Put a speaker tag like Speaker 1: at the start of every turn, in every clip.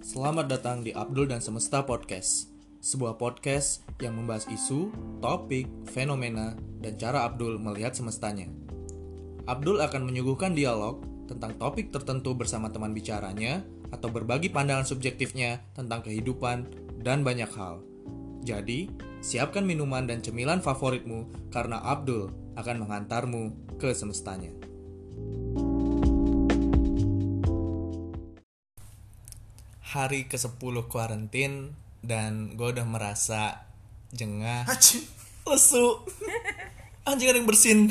Speaker 1: Selamat datang di Abdul dan Semesta Podcast, sebuah podcast yang membahas isu, topik, fenomena, dan cara Abdul melihat semestanya. Abdul akan menyuguhkan dialog tentang topik tertentu bersama teman bicaranya atau berbagi pandangan subjektifnya tentang kehidupan dan banyak hal. Jadi, siapkan minuman dan cemilan favoritmu karena Abdul akan mengantarmu ke semestanya. hari ke-10 kuarantin dan gue udah merasa jengah
Speaker 2: Anjing.
Speaker 1: lesu anjing ada yang bersin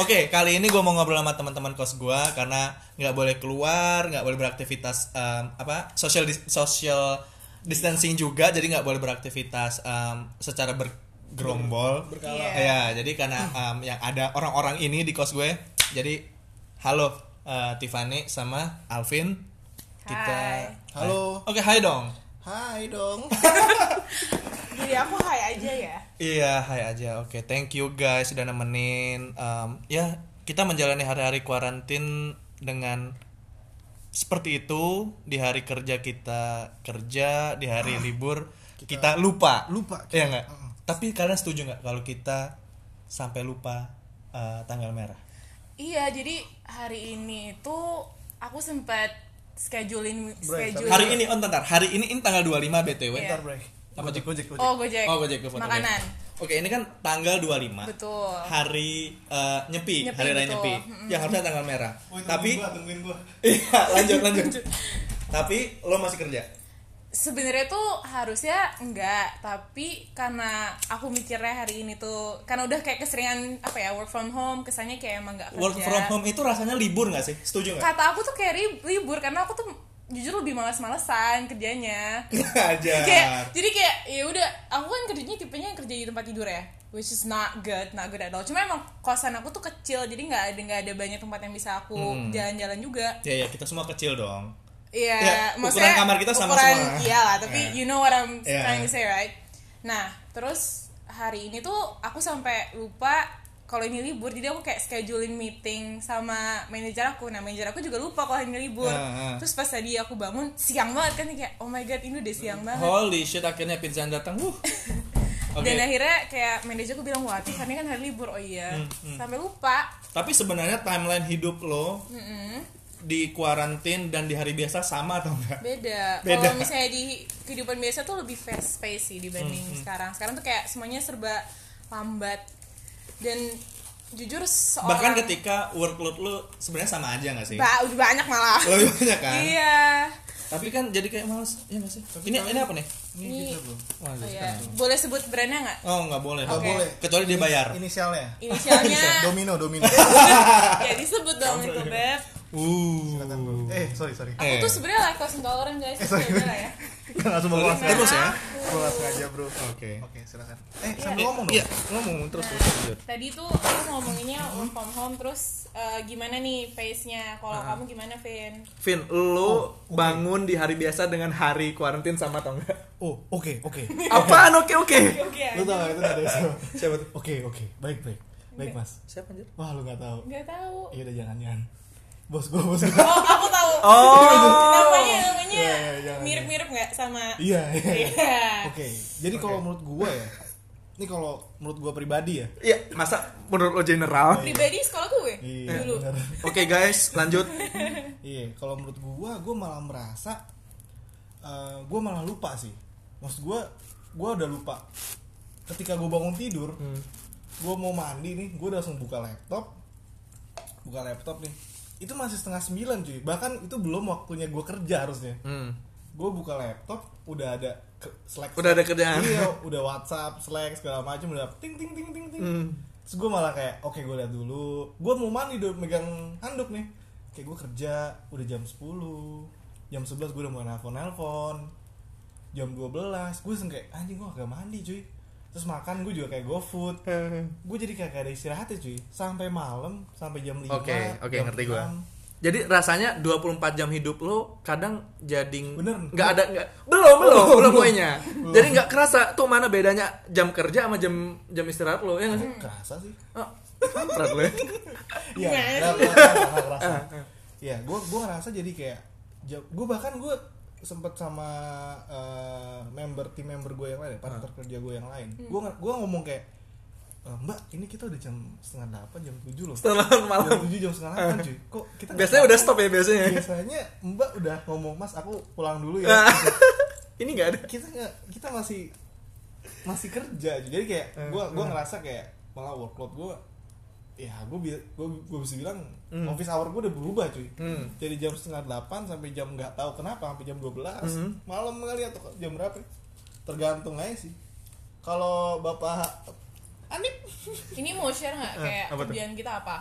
Speaker 1: oke kali ini gue mau ngobrol sama teman-teman kos gue karena nggak boleh keluar nggak boleh beraktivitas em, apa social dis- social distancing juga jadi nggak boleh beraktivitas em, secara bergerombol ya jadi karena em, yang ada orang-orang ini di kos gue jadi halo eh, Tiffany sama Alvin kita
Speaker 2: Halo.
Speaker 1: oke hai dong
Speaker 2: Hai dong.
Speaker 3: Jadi aku hai aja ya.
Speaker 1: Iya, hai aja. Oke, thank you guys sudah nemenin. Em, ya, kita menjalani hari-hari kuarantin dengan seperti itu di hari kerja kita kerja, di hari libur Ah, kita, lupa.
Speaker 2: lupa.
Speaker 1: Iya nggak? Tapi kalian setuju nggak kalau kita sampai lupa eh, tanggal merah?
Speaker 3: Iya, jadi hari ini itu aku sempat scheduling schedule
Speaker 1: Hari ini on bentar. Hari ini ini tanggal 25 BTW.
Speaker 3: Iya.
Speaker 2: Bentar break.
Speaker 1: Apa, Cik?
Speaker 2: Gojek, gojek.
Speaker 3: Oh, Gojek.
Speaker 1: Oh, Gojek, Gojek.
Speaker 3: Makanan.
Speaker 1: Oke, ini kan tanggal 25.
Speaker 3: Betul.
Speaker 1: Hari eh, nyepi,
Speaker 3: Nyepi,
Speaker 1: hari raya
Speaker 3: betul.
Speaker 1: nyepi. Ya harusnya tanggal merah.
Speaker 2: Woi, tungguin
Speaker 1: Tapi
Speaker 2: Oh, gua, tungguin gua.
Speaker 1: Iya, lanjut lanjut. Tapi lo masih kerja.
Speaker 3: Sebenarnya tuh harusnya enggak, tapi karena aku mikirnya hari ini tuh karena udah kayak keseringan apa ya work from home, kesannya kayak emang enggak kerja.
Speaker 1: Work from home itu rasanya libur nggak sih? Setuju nggak?
Speaker 3: Kata aku tuh kayak ri- libur karena aku tuh jujur lebih malas-malesan kerjanya. kayak
Speaker 1: Ajar.
Speaker 3: jadi kayak ya udah aku kan kerjanya tipenya yang kerja di tempat tidur ya which is not good not good at all cuma emang kosan aku tuh kecil jadi nggak ada nggak ada banyak tempat yang bisa aku
Speaker 1: Hmm.
Speaker 3: jalan-jalan juga
Speaker 1: Ya ya kita semua kecil dong.
Speaker 3: Iya,
Speaker 1: Ya, ukuran kamar kita sama
Speaker 3: ukuran,
Speaker 1: semua.
Speaker 3: Iyalah, tapi
Speaker 1: Iya.
Speaker 3: you know what I'm
Speaker 1: Iya.
Speaker 3: trying to say, right? Nah, terus hari ini tuh aku sampai lupa kalau ini libur, jadi aku kayak scheduling meeting sama manajer aku. Nah, manajer aku juga lupa kalau hari ini libur.
Speaker 1: Ah, ah.
Speaker 3: Terus pas tadi aku bangun siang banget kan kayak oh my god, ini udah siang banget.
Speaker 1: Holy shit akhirnya pizza datang. Wuh. Oke.
Speaker 3: Dan akhirnya kayak manajer aku bilang, wah Tiff, hari ini kan hari libur, oh iya
Speaker 1: Hmm,
Speaker 3: Sampai lupa
Speaker 1: Tapi sebenarnya timeline hidup lo di kuarantin dan di hari biasa sama atau enggak?
Speaker 3: Beda,
Speaker 1: Beda.
Speaker 3: Kalau misalnya di kehidupan biasa tuh lebih fast pace sih dibanding
Speaker 1: Hmm,
Speaker 3: sekarang Sekarang tuh kayak semuanya serba lambat Dan jujur seorang
Speaker 1: Bahkan ketika workload lo sebenarnya sama aja nggak sih?
Speaker 3: Ba- udah banyak malah
Speaker 1: Lebih banyak kan?
Speaker 3: Iya
Speaker 1: Tapi kan jadi kayak males, ya nggak sih? ini ini apa nih?
Speaker 2: Ini
Speaker 3: Ini-
Speaker 2: kita belum.
Speaker 1: Waduh,
Speaker 3: Oh, iya. Boleh sebut brandnya nggak?
Speaker 1: Oh nggak boleh.
Speaker 2: Nggak
Speaker 1: Oke.
Speaker 2: boleh.
Speaker 1: Kecuali dia bayar.
Speaker 2: Inisialnya. Eh.
Speaker 3: Inisialnya
Speaker 2: Domino, domino.
Speaker 3: Ya disebut dong itu Beb
Speaker 1: Uh.
Speaker 2: eh, sorry, sorry.
Speaker 1: Eh.
Speaker 3: Itu sebenarnya lactose intolerant guys
Speaker 2: Eh, sorry.
Speaker 3: Ya udah lah ya
Speaker 2: Gua langsung bawa
Speaker 1: Terus, terus ya.
Speaker 2: Gua nggak sengaja, Bro.
Speaker 1: Oke.
Speaker 2: Oke, silakan. Eh, sambil
Speaker 3: Iya.
Speaker 2: ngomong dong.
Speaker 1: Iya, ngomong terus terus lanjut.
Speaker 3: Tadi tuh aku ngomonginnya work from home terus eh, gimana nih pace-nya? Kalau kamu gimana, Vin?
Speaker 1: Vin, lo bangun di hari biasa dengan hari kuarantin sama atau enggak?
Speaker 2: Oh, oke, oke.
Speaker 1: Apaan oke oke?
Speaker 3: Oke.
Speaker 2: Lu tau nggak itu ada siapa?
Speaker 1: Siapa tuh?
Speaker 2: Oke, oke. Baik, baik. Baik, Mas.
Speaker 1: Siapa anjir?
Speaker 2: Wah, lu nggak tahu.
Speaker 3: Enggak tahu.
Speaker 2: Iya udah jangan, jangan. Bos gua, bos gua.
Speaker 3: Oh, aku tahu. Namanya namanya
Speaker 2: Iya, iya, jangan.
Speaker 3: mirip-mirip nggak sama
Speaker 2: Iya, iya.
Speaker 3: Iya.
Speaker 2: Oke, jadi kalau menurut gua ya, ini kalau menurut gua pribadi ya.
Speaker 1: Iya, masa menurut lo general?
Speaker 3: Pribadi sekolah gue
Speaker 2: Iya,
Speaker 3: dulu.
Speaker 2: bener.
Speaker 1: Oke guys, lanjut.
Speaker 2: Iya, kalau menurut gua, gua malah merasa eh, gua malah lupa sih. Maksud gua, gua udah lupa. Ketika gua bangun tidur, gua mau mandi nih, gua udah langsung buka laptop. Buka laptop nih. Itu masih setengah sembilan cuy. Bahkan itu belum waktunya gua kerja harusnya.
Speaker 1: Hmm.
Speaker 2: Gue buka laptop, udah ada ke- Slack.
Speaker 1: Udah ada kerjaan.
Speaker 2: Iya, udah WhatsApp, Slack segala macam udah ting ting ting ting ting.
Speaker 1: Hmm.
Speaker 2: Terus gue malah kayak, oke gue lihat dulu. Gue mau mandi udah megang handuk nih. Kayak gue kerja udah jam 10 jam 11 gue udah mau nelfon nelfon. Jam 12 gue sengke anjing gue agak mandi cuy. Terus makan gue juga kayak GoFood. Gue jadi kagak ada istirahatnya cuy. Sampai malam, sampai jam 5.
Speaker 1: Oke, oke,
Speaker 2: jam
Speaker 1: ngerti gua.
Speaker 2: 6.
Speaker 1: Jadi rasanya 24 jam hidup lo kadang jadi
Speaker 2: Bener.
Speaker 1: nggak ada nggak belum belum Oh, belum
Speaker 2: belum.
Speaker 1: poinnya. Jadi nggak kerasa tuh mana bedanya jam kerja sama jam jam istirahat lo ya nggak sih?
Speaker 2: Kerasa sih.
Speaker 1: Oh, kampret lo ya.
Speaker 2: Iya,
Speaker 3: Gimana
Speaker 1: Ah,
Speaker 2: nggak- nggak- nggak- nggak ngerasa. Iya, gue gue ngerasa jadi kayak gue bahkan gue sempet sama eh, member tim member gue yang lain, ya, partner
Speaker 1: Ah.
Speaker 2: kerja gue yang lain.
Speaker 1: Hmm.
Speaker 2: Gue nge- gue ngomong kayak "Eh, Mbak, ini kita udah jam setengah delapan, jam tujuh loh.
Speaker 1: Setengah delapan malam. Ah.
Speaker 2: Jam tujuh, jam setengah delapan cuy. Kok kita nggak
Speaker 1: Biasanya udah stop ya biasanya.
Speaker 2: biasanya Mbak udah ngomong Mas, aku pulang dulu ya.
Speaker 1: Ah. Ini nggak ada.
Speaker 2: kita nggak kita masih masih kerja jadi kayak
Speaker 1: Eh,
Speaker 2: gue gua ngerasa kayak malah workload gue ya gue gue bisa bilang
Speaker 1: Hmm.
Speaker 2: office hour gue udah berubah cuy jadi jam setengah delapan sampai jam nggak tahu kenapa sampai jam 12
Speaker 1: Hmm.
Speaker 2: malam kali atau jam berapa ya. tergantung aja sih kalau bapak Anip
Speaker 3: Ini mau share nggak
Speaker 1: Eh,
Speaker 3: kayak
Speaker 1: apa tuh?
Speaker 3: kerjaan kita apa?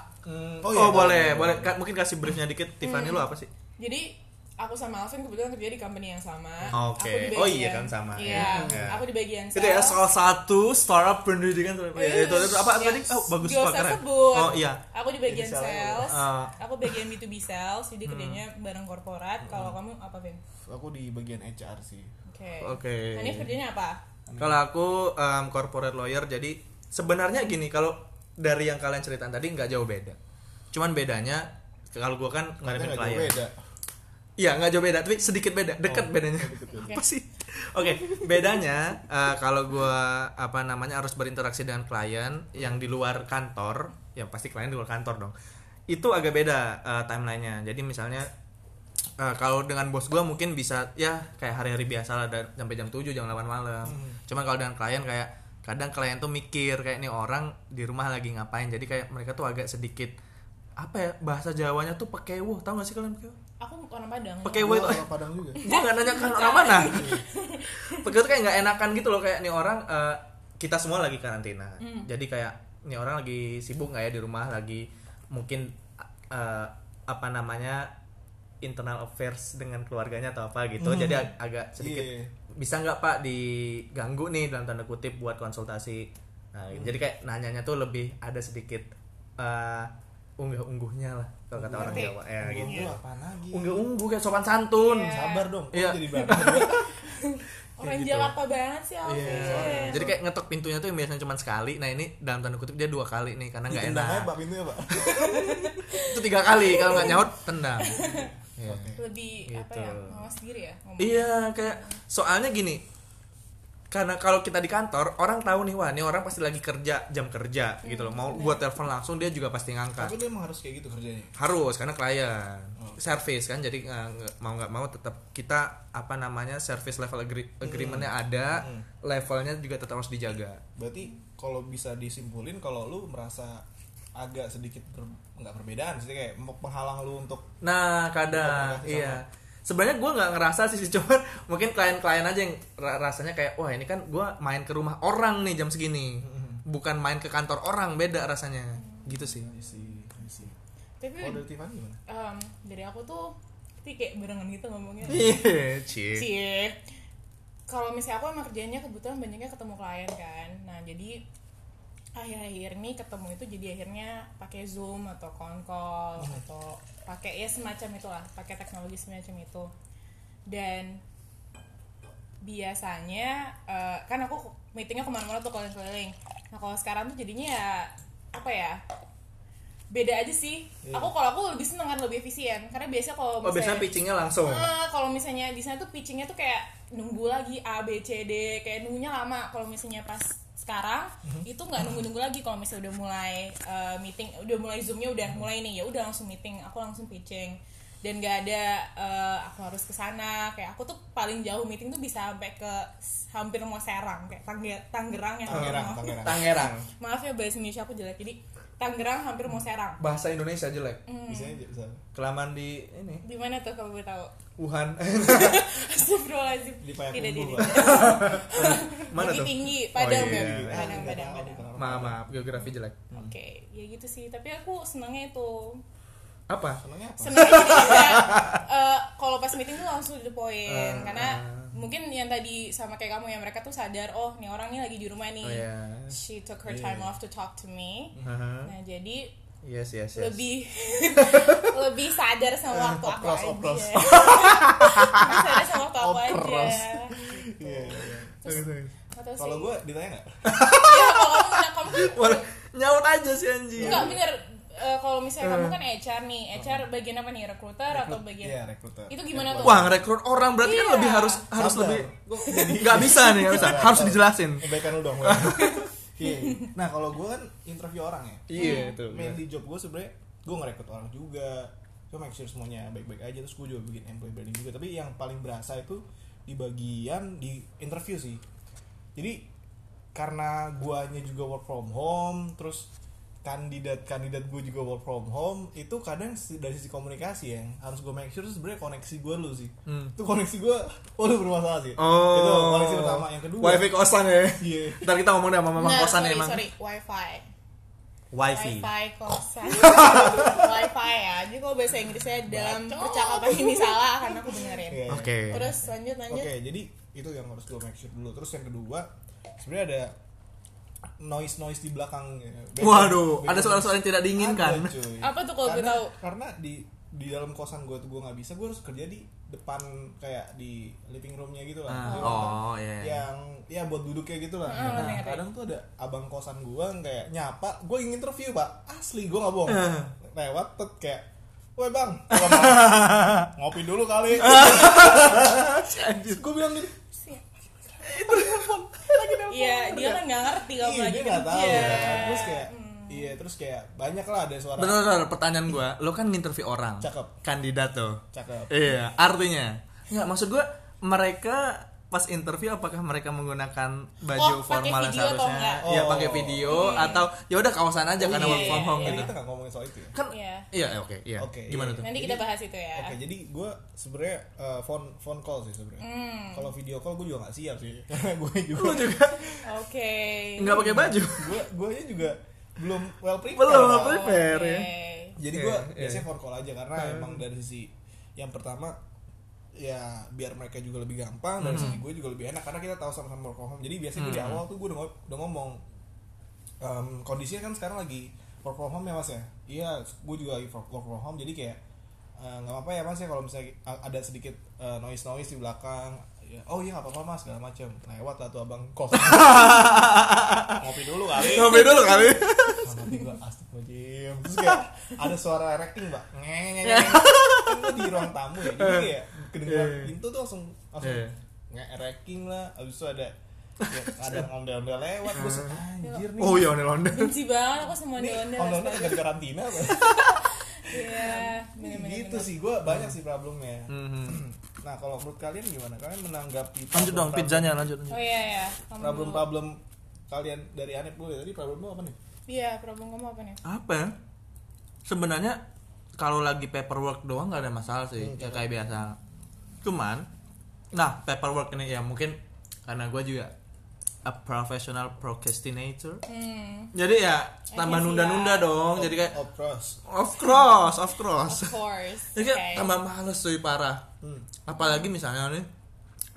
Speaker 1: Oh,
Speaker 2: iya,
Speaker 1: boleh, boleh. Ka- Mungkin kasih briefnya dikit. Tiffany lu apa sih?
Speaker 3: Jadi aku sama Alvin kebetulan kerja di company yang sama.
Speaker 1: Oke.
Speaker 3: Aku di
Speaker 1: Oh iya
Speaker 3: bagian-
Speaker 1: kan, sama.
Speaker 3: Iya.
Speaker 1: Iya.
Speaker 3: Aku di bagian
Speaker 1: Itu ya
Speaker 3: sales.
Speaker 1: salah satu startup pendidikan ter- ya, itu, itu apa
Speaker 3: Yes.
Speaker 1: tadi? Oh, bagus
Speaker 3: Gak
Speaker 1: banget.
Speaker 3: usah
Speaker 1: keren.
Speaker 3: sebut.
Speaker 1: Oh iya.
Speaker 3: Aku di bagian
Speaker 2: Jadi sales.
Speaker 3: sales.
Speaker 1: Ah. Hmm.
Speaker 3: Aku bagian B2B sales, jadi kerjanya bareng korporat. Kalau kamu apa, Vin?
Speaker 2: aku di bagian HR sih
Speaker 3: Oke.
Speaker 1: Oke.
Speaker 3: Hanif kerjanya apa?
Speaker 1: Kalau aku em, corporate lawyer jadi sebenarnya gini kalau dari yang kalian ceritain tadi nggak jauh beda. Cuman bedanya kalau gua kan ngadepin
Speaker 2: Ternyata nggak
Speaker 1: klien.
Speaker 2: jauh beda
Speaker 1: Iya nggak jauh beda, tapi sedikit beda, dekat bedanya. apa sih? Oke, bedanya eh, kalau gua apa namanya harus berinteraksi dengan klien yang di luar kantor, ya pasti klien di luar kantor dong. Itu agak beda eh, timelinenya. Jadi misalnya eh, kalau dengan bos gua mungkin bisa ya kayak hari-hari biasa lah dari- sampai jam 7 jam 8 malam. Cuman kalau dengan klien kayak kadang klien tuh mikir kayak ini orang di rumah lagi ngapain. Jadi kayak mereka tuh agak sedikit apa ya bahasa Jawanya tuh pekewo, tau gak sih kalian pekewo?
Speaker 3: Aku orang Padang.
Speaker 1: pakai
Speaker 2: Gua
Speaker 1: wait
Speaker 2: orang Padang juga
Speaker 1: gue gak nanya kan orang mana pakai itu kayak nggak enakan gitu loh kayak nih orang eh, kita semua lagi karantina jadi kayak nih orang lagi sibuk nggak ya di rumah lagi mungkin eh, apa namanya internal affairs dengan keluarganya atau apa gitu jadi ag- agak sedikit
Speaker 2: Iya.
Speaker 1: bisa nggak pak diganggu nih dalam tanda kutip buat konsultasi nah, jadi kayak nanyanya tuh lebih ada sedikit eh, unggah-ungguhnya lah kalau kata orang
Speaker 3: Ngerti.
Speaker 1: Jawa ya
Speaker 2: Gua-
Speaker 1: gitu
Speaker 2: gua apaan lagi
Speaker 1: unggah-ungguh kayak sopan santun
Speaker 2: sabar dong kok
Speaker 1: Iya.
Speaker 2: jadi bapak
Speaker 3: Orang
Speaker 1: gitu. Iya.
Speaker 3: Jakarta banget sih, Iya. Alvin.
Speaker 1: Jadi kayak ngetok pintunya tuh yang biasanya cuma sekali. Nah ini dalam tanda kutip dia dua kali nih karena nggak
Speaker 2: Ditendang
Speaker 1: enak.
Speaker 2: aja, Pak, pintunya pak
Speaker 1: Itu tiga kali kalau nggak nyaut tendang. Iya.
Speaker 3: lebih apa
Speaker 1: Gitu.
Speaker 3: ya ngawas diri ya ngomong.
Speaker 1: Iya kayak soalnya gini karena kalau kita di kantor orang tahu nih wah ini orang pasti lagi kerja jam kerja gitu loh mau gua telepon langsung dia juga pasti
Speaker 2: tapi
Speaker 1: ngangkat
Speaker 2: dia emang harus kayak gitu kerjanya
Speaker 1: harus karena klien service kan jadi eh, nge- mau nggak mau tetap kita apa namanya service level agree- agreementnya ada levelnya juga tetap harus dijaga
Speaker 2: berarti kalau bisa disimpulin kalau lu merasa agak sedikit ber- nggak perbedaan sih kayak mem- penghalang lu untuk
Speaker 1: Nah, kadang
Speaker 2: Bukan komunikasi
Speaker 1: iya. Sebenarnya gue nggak ngerasa sih, cuman mungkin klien-klien aja yang ra- rasanya kayak wah ini kan gue main ke rumah orang nih jam segini, bukan main ke kantor orang beda rasanya, gitu sih.
Speaker 2: isi isi
Speaker 3: tapi
Speaker 2: kalau dari Tiffany gimana
Speaker 3: em, dari aku tuh kita kayak barengan gitu ngomongnya
Speaker 1: Iya, cie.
Speaker 3: sih kalau misalnya aku emang kerjanya kebetulan banyaknya ketemu klien kan nah jadi akhir-akhir ini ketemu itu jadi akhirnya pakai zoom atau konkol
Speaker 1: Iya.
Speaker 3: atau pakai ya semacam itulah pakai teknologi semacam itu dan biasanya eh, kan aku meetingnya kemana-mana tuh keliling-keliling nah kalau sekarang tuh jadinya ya apa ya beda aja sih aku kalau aku lebih seneng kan lebih efisien karena biasa
Speaker 1: Iya. Oh
Speaker 3: kalau
Speaker 1: biasanya
Speaker 3: misalnya-
Speaker 1: pitchingnya langsung.
Speaker 3: Eh, kalau misalnya di sana tuh pitchingnya tuh kayak nunggu lagi A B C D kayak nunggunya lama kalau misalnya pas sekarang
Speaker 2: Mhm.
Speaker 3: itu nggak nunggu-nunggu lagi kalau misalnya udah mulai eh, meeting udah mulai zoomnya udah mulai nih ya udah langsung meeting aku langsung pitching dan nggak ada eh, aku harus ke sana kayak aku tuh paling jauh meeting tuh bisa sampai ke s- hampir mau Serang kayak Tangge- Tangerang yang hampir
Speaker 2: Tangerang
Speaker 3: mau-
Speaker 2: Tangerang
Speaker 1: Tangerang.
Speaker 3: maaf ya bahasa Indonesia aku jelek jadi Tangerang hampir mau Serang
Speaker 1: Bahasa Indonesia jelek.
Speaker 3: Eh. Hmm.
Speaker 2: bisa aja bisa
Speaker 1: Kelamaan di ini
Speaker 3: di mana tuh kalau boleh tahu
Speaker 1: Wuhan.
Speaker 3: Astagfirullahaladzim
Speaker 2: Di Payakumbuh,
Speaker 3: Tidak, tidak,
Speaker 2: Pak.
Speaker 3: tidak.
Speaker 1: Mana
Speaker 3: Bukit
Speaker 1: tuh?
Speaker 3: tinggi, Padang
Speaker 1: Oh, iya.
Speaker 3: Mem.
Speaker 1: Iya.
Speaker 3: Padang,
Speaker 2: Eh, Nggak
Speaker 3: Padang,
Speaker 2: tahu,
Speaker 3: Padang.
Speaker 2: bukan
Speaker 1: Maaf,
Speaker 2: orang Padang.
Speaker 1: maaf, geografi jelek.
Speaker 3: Oke, ya gitu sih. Tapi aku senangnya itu.
Speaker 1: Apa?
Speaker 2: Senangnya apa
Speaker 3: Senangnya jadi kayak, eh, kalau pas meeting tuh langsung to the point.
Speaker 1: Ah,
Speaker 3: Karena mungkin yang tadi sama kayak kamu ya mereka tuh sadar, oh nih orang nih lagi di rumah nih.
Speaker 1: Oh Iya. ya.
Speaker 3: She took her time off to talk to me.
Speaker 1: Aha.
Speaker 3: Nah jadi
Speaker 1: Yes yes Eh, yes.
Speaker 3: lebih lebih sadar sama waktu aku
Speaker 2: oplos,
Speaker 3: aja.
Speaker 2: oplos.
Speaker 3: lebih sadar sama waktu aku aja.
Speaker 2: Iya, iya, iya.
Speaker 1: Bagus, bagus.
Speaker 3: Atau
Speaker 2: kalau
Speaker 3: sih-
Speaker 2: gue ditanya nggak
Speaker 3: Iya, kalau kamu, kamu
Speaker 2: Iya.
Speaker 1: Wah, Nyaut aja sih anjing.
Speaker 3: Enggak bener eh, kalau misalnya kamu kan HR nih, HR bagian apa nih? Recruiter atau bagian?
Speaker 2: Hmm. Iya, rekruter.
Speaker 3: Itu gimana tuh?
Speaker 1: Wah, ngerekrut orang berarti kan
Speaker 3: Iya.
Speaker 1: lebih harus harus
Speaker 2: Sabar.
Speaker 1: lebih nggak bisa nih, nggak bisa. harus dijelasin.
Speaker 2: Kebaikan kan lu dong. Wan. Oke. Nah, kalau gue kan interview orang ya.
Speaker 3: Hmm.
Speaker 1: Iya, itu.
Speaker 2: Mainly job gue sebenarnya gue ngerekrut orang juga. Gue make sure semuanya baik-baik aja terus gue juga bikin employee branding juga. Tapi yang paling berasa itu di bagian di interview sih. Jadi karena guanya juga work from home, terus kandidat-kandidat gue juga work from home itu kadang si- dari sisi komunikasi ya yang harus gue make sure tuh sebenarnya koneksi gue dulu sih itu koneksi gue waduh bermasalah sih itu
Speaker 1: Hmm. Oh.
Speaker 2: koneksi pertama yang kedua
Speaker 1: Wifi kosan ya.
Speaker 2: Iya.
Speaker 1: Ntar kita ngomong deh sama mama
Speaker 3: Nggak,
Speaker 1: kosan
Speaker 3: sorry,
Speaker 1: emang.
Speaker 3: Sorry, wifi.
Speaker 1: Wifi.
Speaker 3: Wifi kosan. wifi ya. Jadi kalau bahasa Inggrisnya dalam percakapan ini salah karena aku dengerin.
Speaker 2: Iya, iya.
Speaker 1: Oke.
Speaker 3: Terus lanjut
Speaker 2: Oke,
Speaker 3: lanjut.
Speaker 2: jadi itu yang harus gue make sure dulu. Terus yang kedua, sebenarnya ada noise noise di belakang. ya. Background-
Speaker 1: Waduh,
Speaker 2: background
Speaker 1: ada
Speaker 2: noise.
Speaker 1: suara-suara yang tidak diinginkan.
Speaker 2: Ada, cuy.
Speaker 3: Apa tuh kalau gue
Speaker 2: Karena-
Speaker 3: tahu?
Speaker 2: Karena di di dalam kosan gue tuh gue nggak bisa, gue harus kerja di depan kayak di living roomnya gitu lah.
Speaker 1: Ah,
Speaker 2: Jadi
Speaker 1: oh,
Speaker 2: orang
Speaker 1: iya.
Speaker 2: Yang ya buat duduknya gitu lah.
Speaker 3: Ah,
Speaker 2: Nah,
Speaker 3: ngerti.
Speaker 2: kadang tuh ada abang kosan gue kayak nyapa, gue ingin interview pak, asli gue nggak bohong.
Speaker 1: Ah.
Speaker 2: Lewat tet kayak, woi bang, ngopi dulu kali. Ya. gue bilang gini,
Speaker 3: Iya, dia kan nggak ngerti kalau
Speaker 2: iya
Speaker 3: lagi
Speaker 2: dia nggak tahu
Speaker 3: kerja.
Speaker 2: ya. terus kayak iya terus kayak banyak lah ada suara
Speaker 1: Bener, bener, pertanyaan gua, lo kan nginterview orang,
Speaker 2: Cakep.
Speaker 1: kandidat tuh.
Speaker 2: cakep
Speaker 1: Iya, artinya. Enggak, maksud gua mereka pas interview apakah mereka menggunakan baju
Speaker 3: Oh, pakai
Speaker 1: formal yang
Speaker 3: video atau enggak?
Speaker 1: seharusnya? Iya,
Speaker 2: Oh.
Speaker 1: pakai video atau ya udah kawasan aja karena work from home
Speaker 2: jadi
Speaker 1: gitu.
Speaker 2: kita nggak ngomongin soal itu ya
Speaker 1: Kan
Speaker 3: Iya.
Speaker 1: iya, oke, iya.
Speaker 2: Oke,
Speaker 1: Gimana
Speaker 2: iya.
Speaker 1: tuh?
Speaker 3: Nanti kita bahas itu ya.
Speaker 2: Oke, jadi gue sebenarnya eh, phone phone call sih sebenarnya. Kalau video call gue juga nggak siap sih. gue juga
Speaker 1: Lu juga
Speaker 3: Oke.
Speaker 1: enggak pakai baju.
Speaker 2: gue gue juga belum well prepared.
Speaker 1: Belum
Speaker 2: Pak.
Speaker 1: prepare ya.
Speaker 2: Jadi gue
Speaker 1: Iya, iya.
Speaker 2: biasanya phone call aja karena emang dari sisi yang pertama ya biar mereka juga lebih gampang dari sisi gue juga lebih enak karena kita tahu sama-sama work from home. Jadi biasanya gue di awal tuh gue udah, ngo- udah ngomong em, kondisinya kan sekarang lagi work from home ya mas ya. Iya, gue juga lagi work work from home jadi kayak eh, nggak apa-apa ya mas ya kalau misalnya a- ada sedikit noise noise di belakang. Ya, oh iya nggak apa-apa mas segala macam. Lewat lah tuh abang kos. Ngopi dulu kali
Speaker 1: Iya. Ngopi dulu kali.
Speaker 2: sama tiga astagfirullahaladzim terus kayak ada suara erecting mbak ngeng kan gua di ruang tamu ya jadi kayak kedengeran
Speaker 1: Iya, iya.
Speaker 2: pintu tuh langsung langsung
Speaker 1: Iya.
Speaker 2: nge erecting lah abis itu ada ya, ada ondel-ondel lewat gue anjir nih
Speaker 1: Oh iya, ondel-ondel.
Speaker 3: Benci banget aku sama
Speaker 2: ini
Speaker 3: ondel-ondel.
Speaker 2: ondel-ondel kagak karantina apa
Speaker 3: Iya, bener-bener.
Speaker 2: gitu sih gue banyak sih problemnya
Speaker 1: Mhm.
Speaker 2: nah kalau menurut kalian gimana kalian menanggapi
Speaker 1: Lanjut dong
Speaker 2: problem-
Speaker 1: pizzanya, lanjut
Speaker 3: Oh
Speaker 1: lanjut.
Speaker 3: iya ya.
Speaker 2: problem-problem kalian dari Anip dulu ya. tadi problem lu apa nih
Speaker 3: Iya, problem kamu apa nih?
Speaker 1: apa ya? sebenarnya kalau lagi paperwork doang nggak ada masalah
Speaker 2: Hmm,
Speaker 1: sih ya
Speaker 2: iya.
Speaker 1: kayak biasa cuman nah paperwork ini ya mungkin karena gue juga a professional procrastinator
Speaker 3: Hmm,
Speaker 1: jadi ya tambah
Speaker 3: I can
Speaker 2: Iya
Speaker 3: see
Speaker 1: nunda-nunda
Speaker 3: that.
Speaker 1: dong jadi kayak
Speaker 2: oh pros
Speaker 1: of course of
Speaker 3: of
Speaker 1: course
Speaker 3: course.
Speaker 1: jadi kayak
Speaker 3: Okay.
Speaker 1: tambah males cuy parah
Speaker 2: Hmm.
Speaker 1: apalagi misalnya nih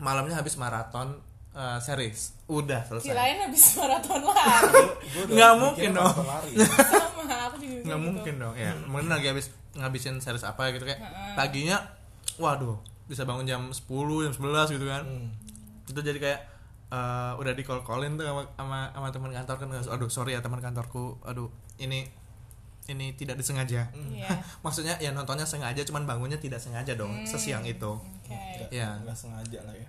Speaker 1: malamnya habis maraton eh, series udah selesai
Speaker 3: Kirain habis maraton lari.
Speaker 2: Gua udah
Speaker 1: Nggak
Speaker 2: mikirnya
Speaker 1: mungkin dong.
Speaker 2: pas lari.
Speaker 3: Sama, aku juga
Speaker 1: nggak
Speaker 3: gitu.
Speaker 1: mungkin dong ya
Speaker 2: Hmm.
Speaker 1: mungkin lagi habis ngabisin series apa gitu kayak paginya waduh bisa bangun jam 10 jam 11 gitu kan
Speaker 2: Hmm.
Speaker 1: itu jadi kayak eh, udah di call callin tuh sama sama, sama teman kantor kan aduh sorry ya teman kantorku aduh ini ini tidak disengaja
Speaker 3: Iya.
Speaker 1: maksudnya ya nontonnya sengaja cuman bangunnya tidak sengaja dong sesiang itu
Speaker 3: Oke.
Speaker 2: Nggak-
Speaker 1: Iya.
Speaker 2: nggak sengaja lah ya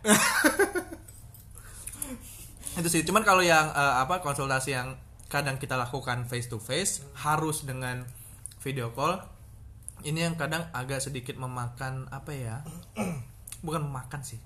Speaker 1: itu sih cuman kalau yang eh, apa konsultasi yang kadang kita lakukan face to face harus dengan video call ini yang kadang agak sedikit memakan apa ya bukan memakan sih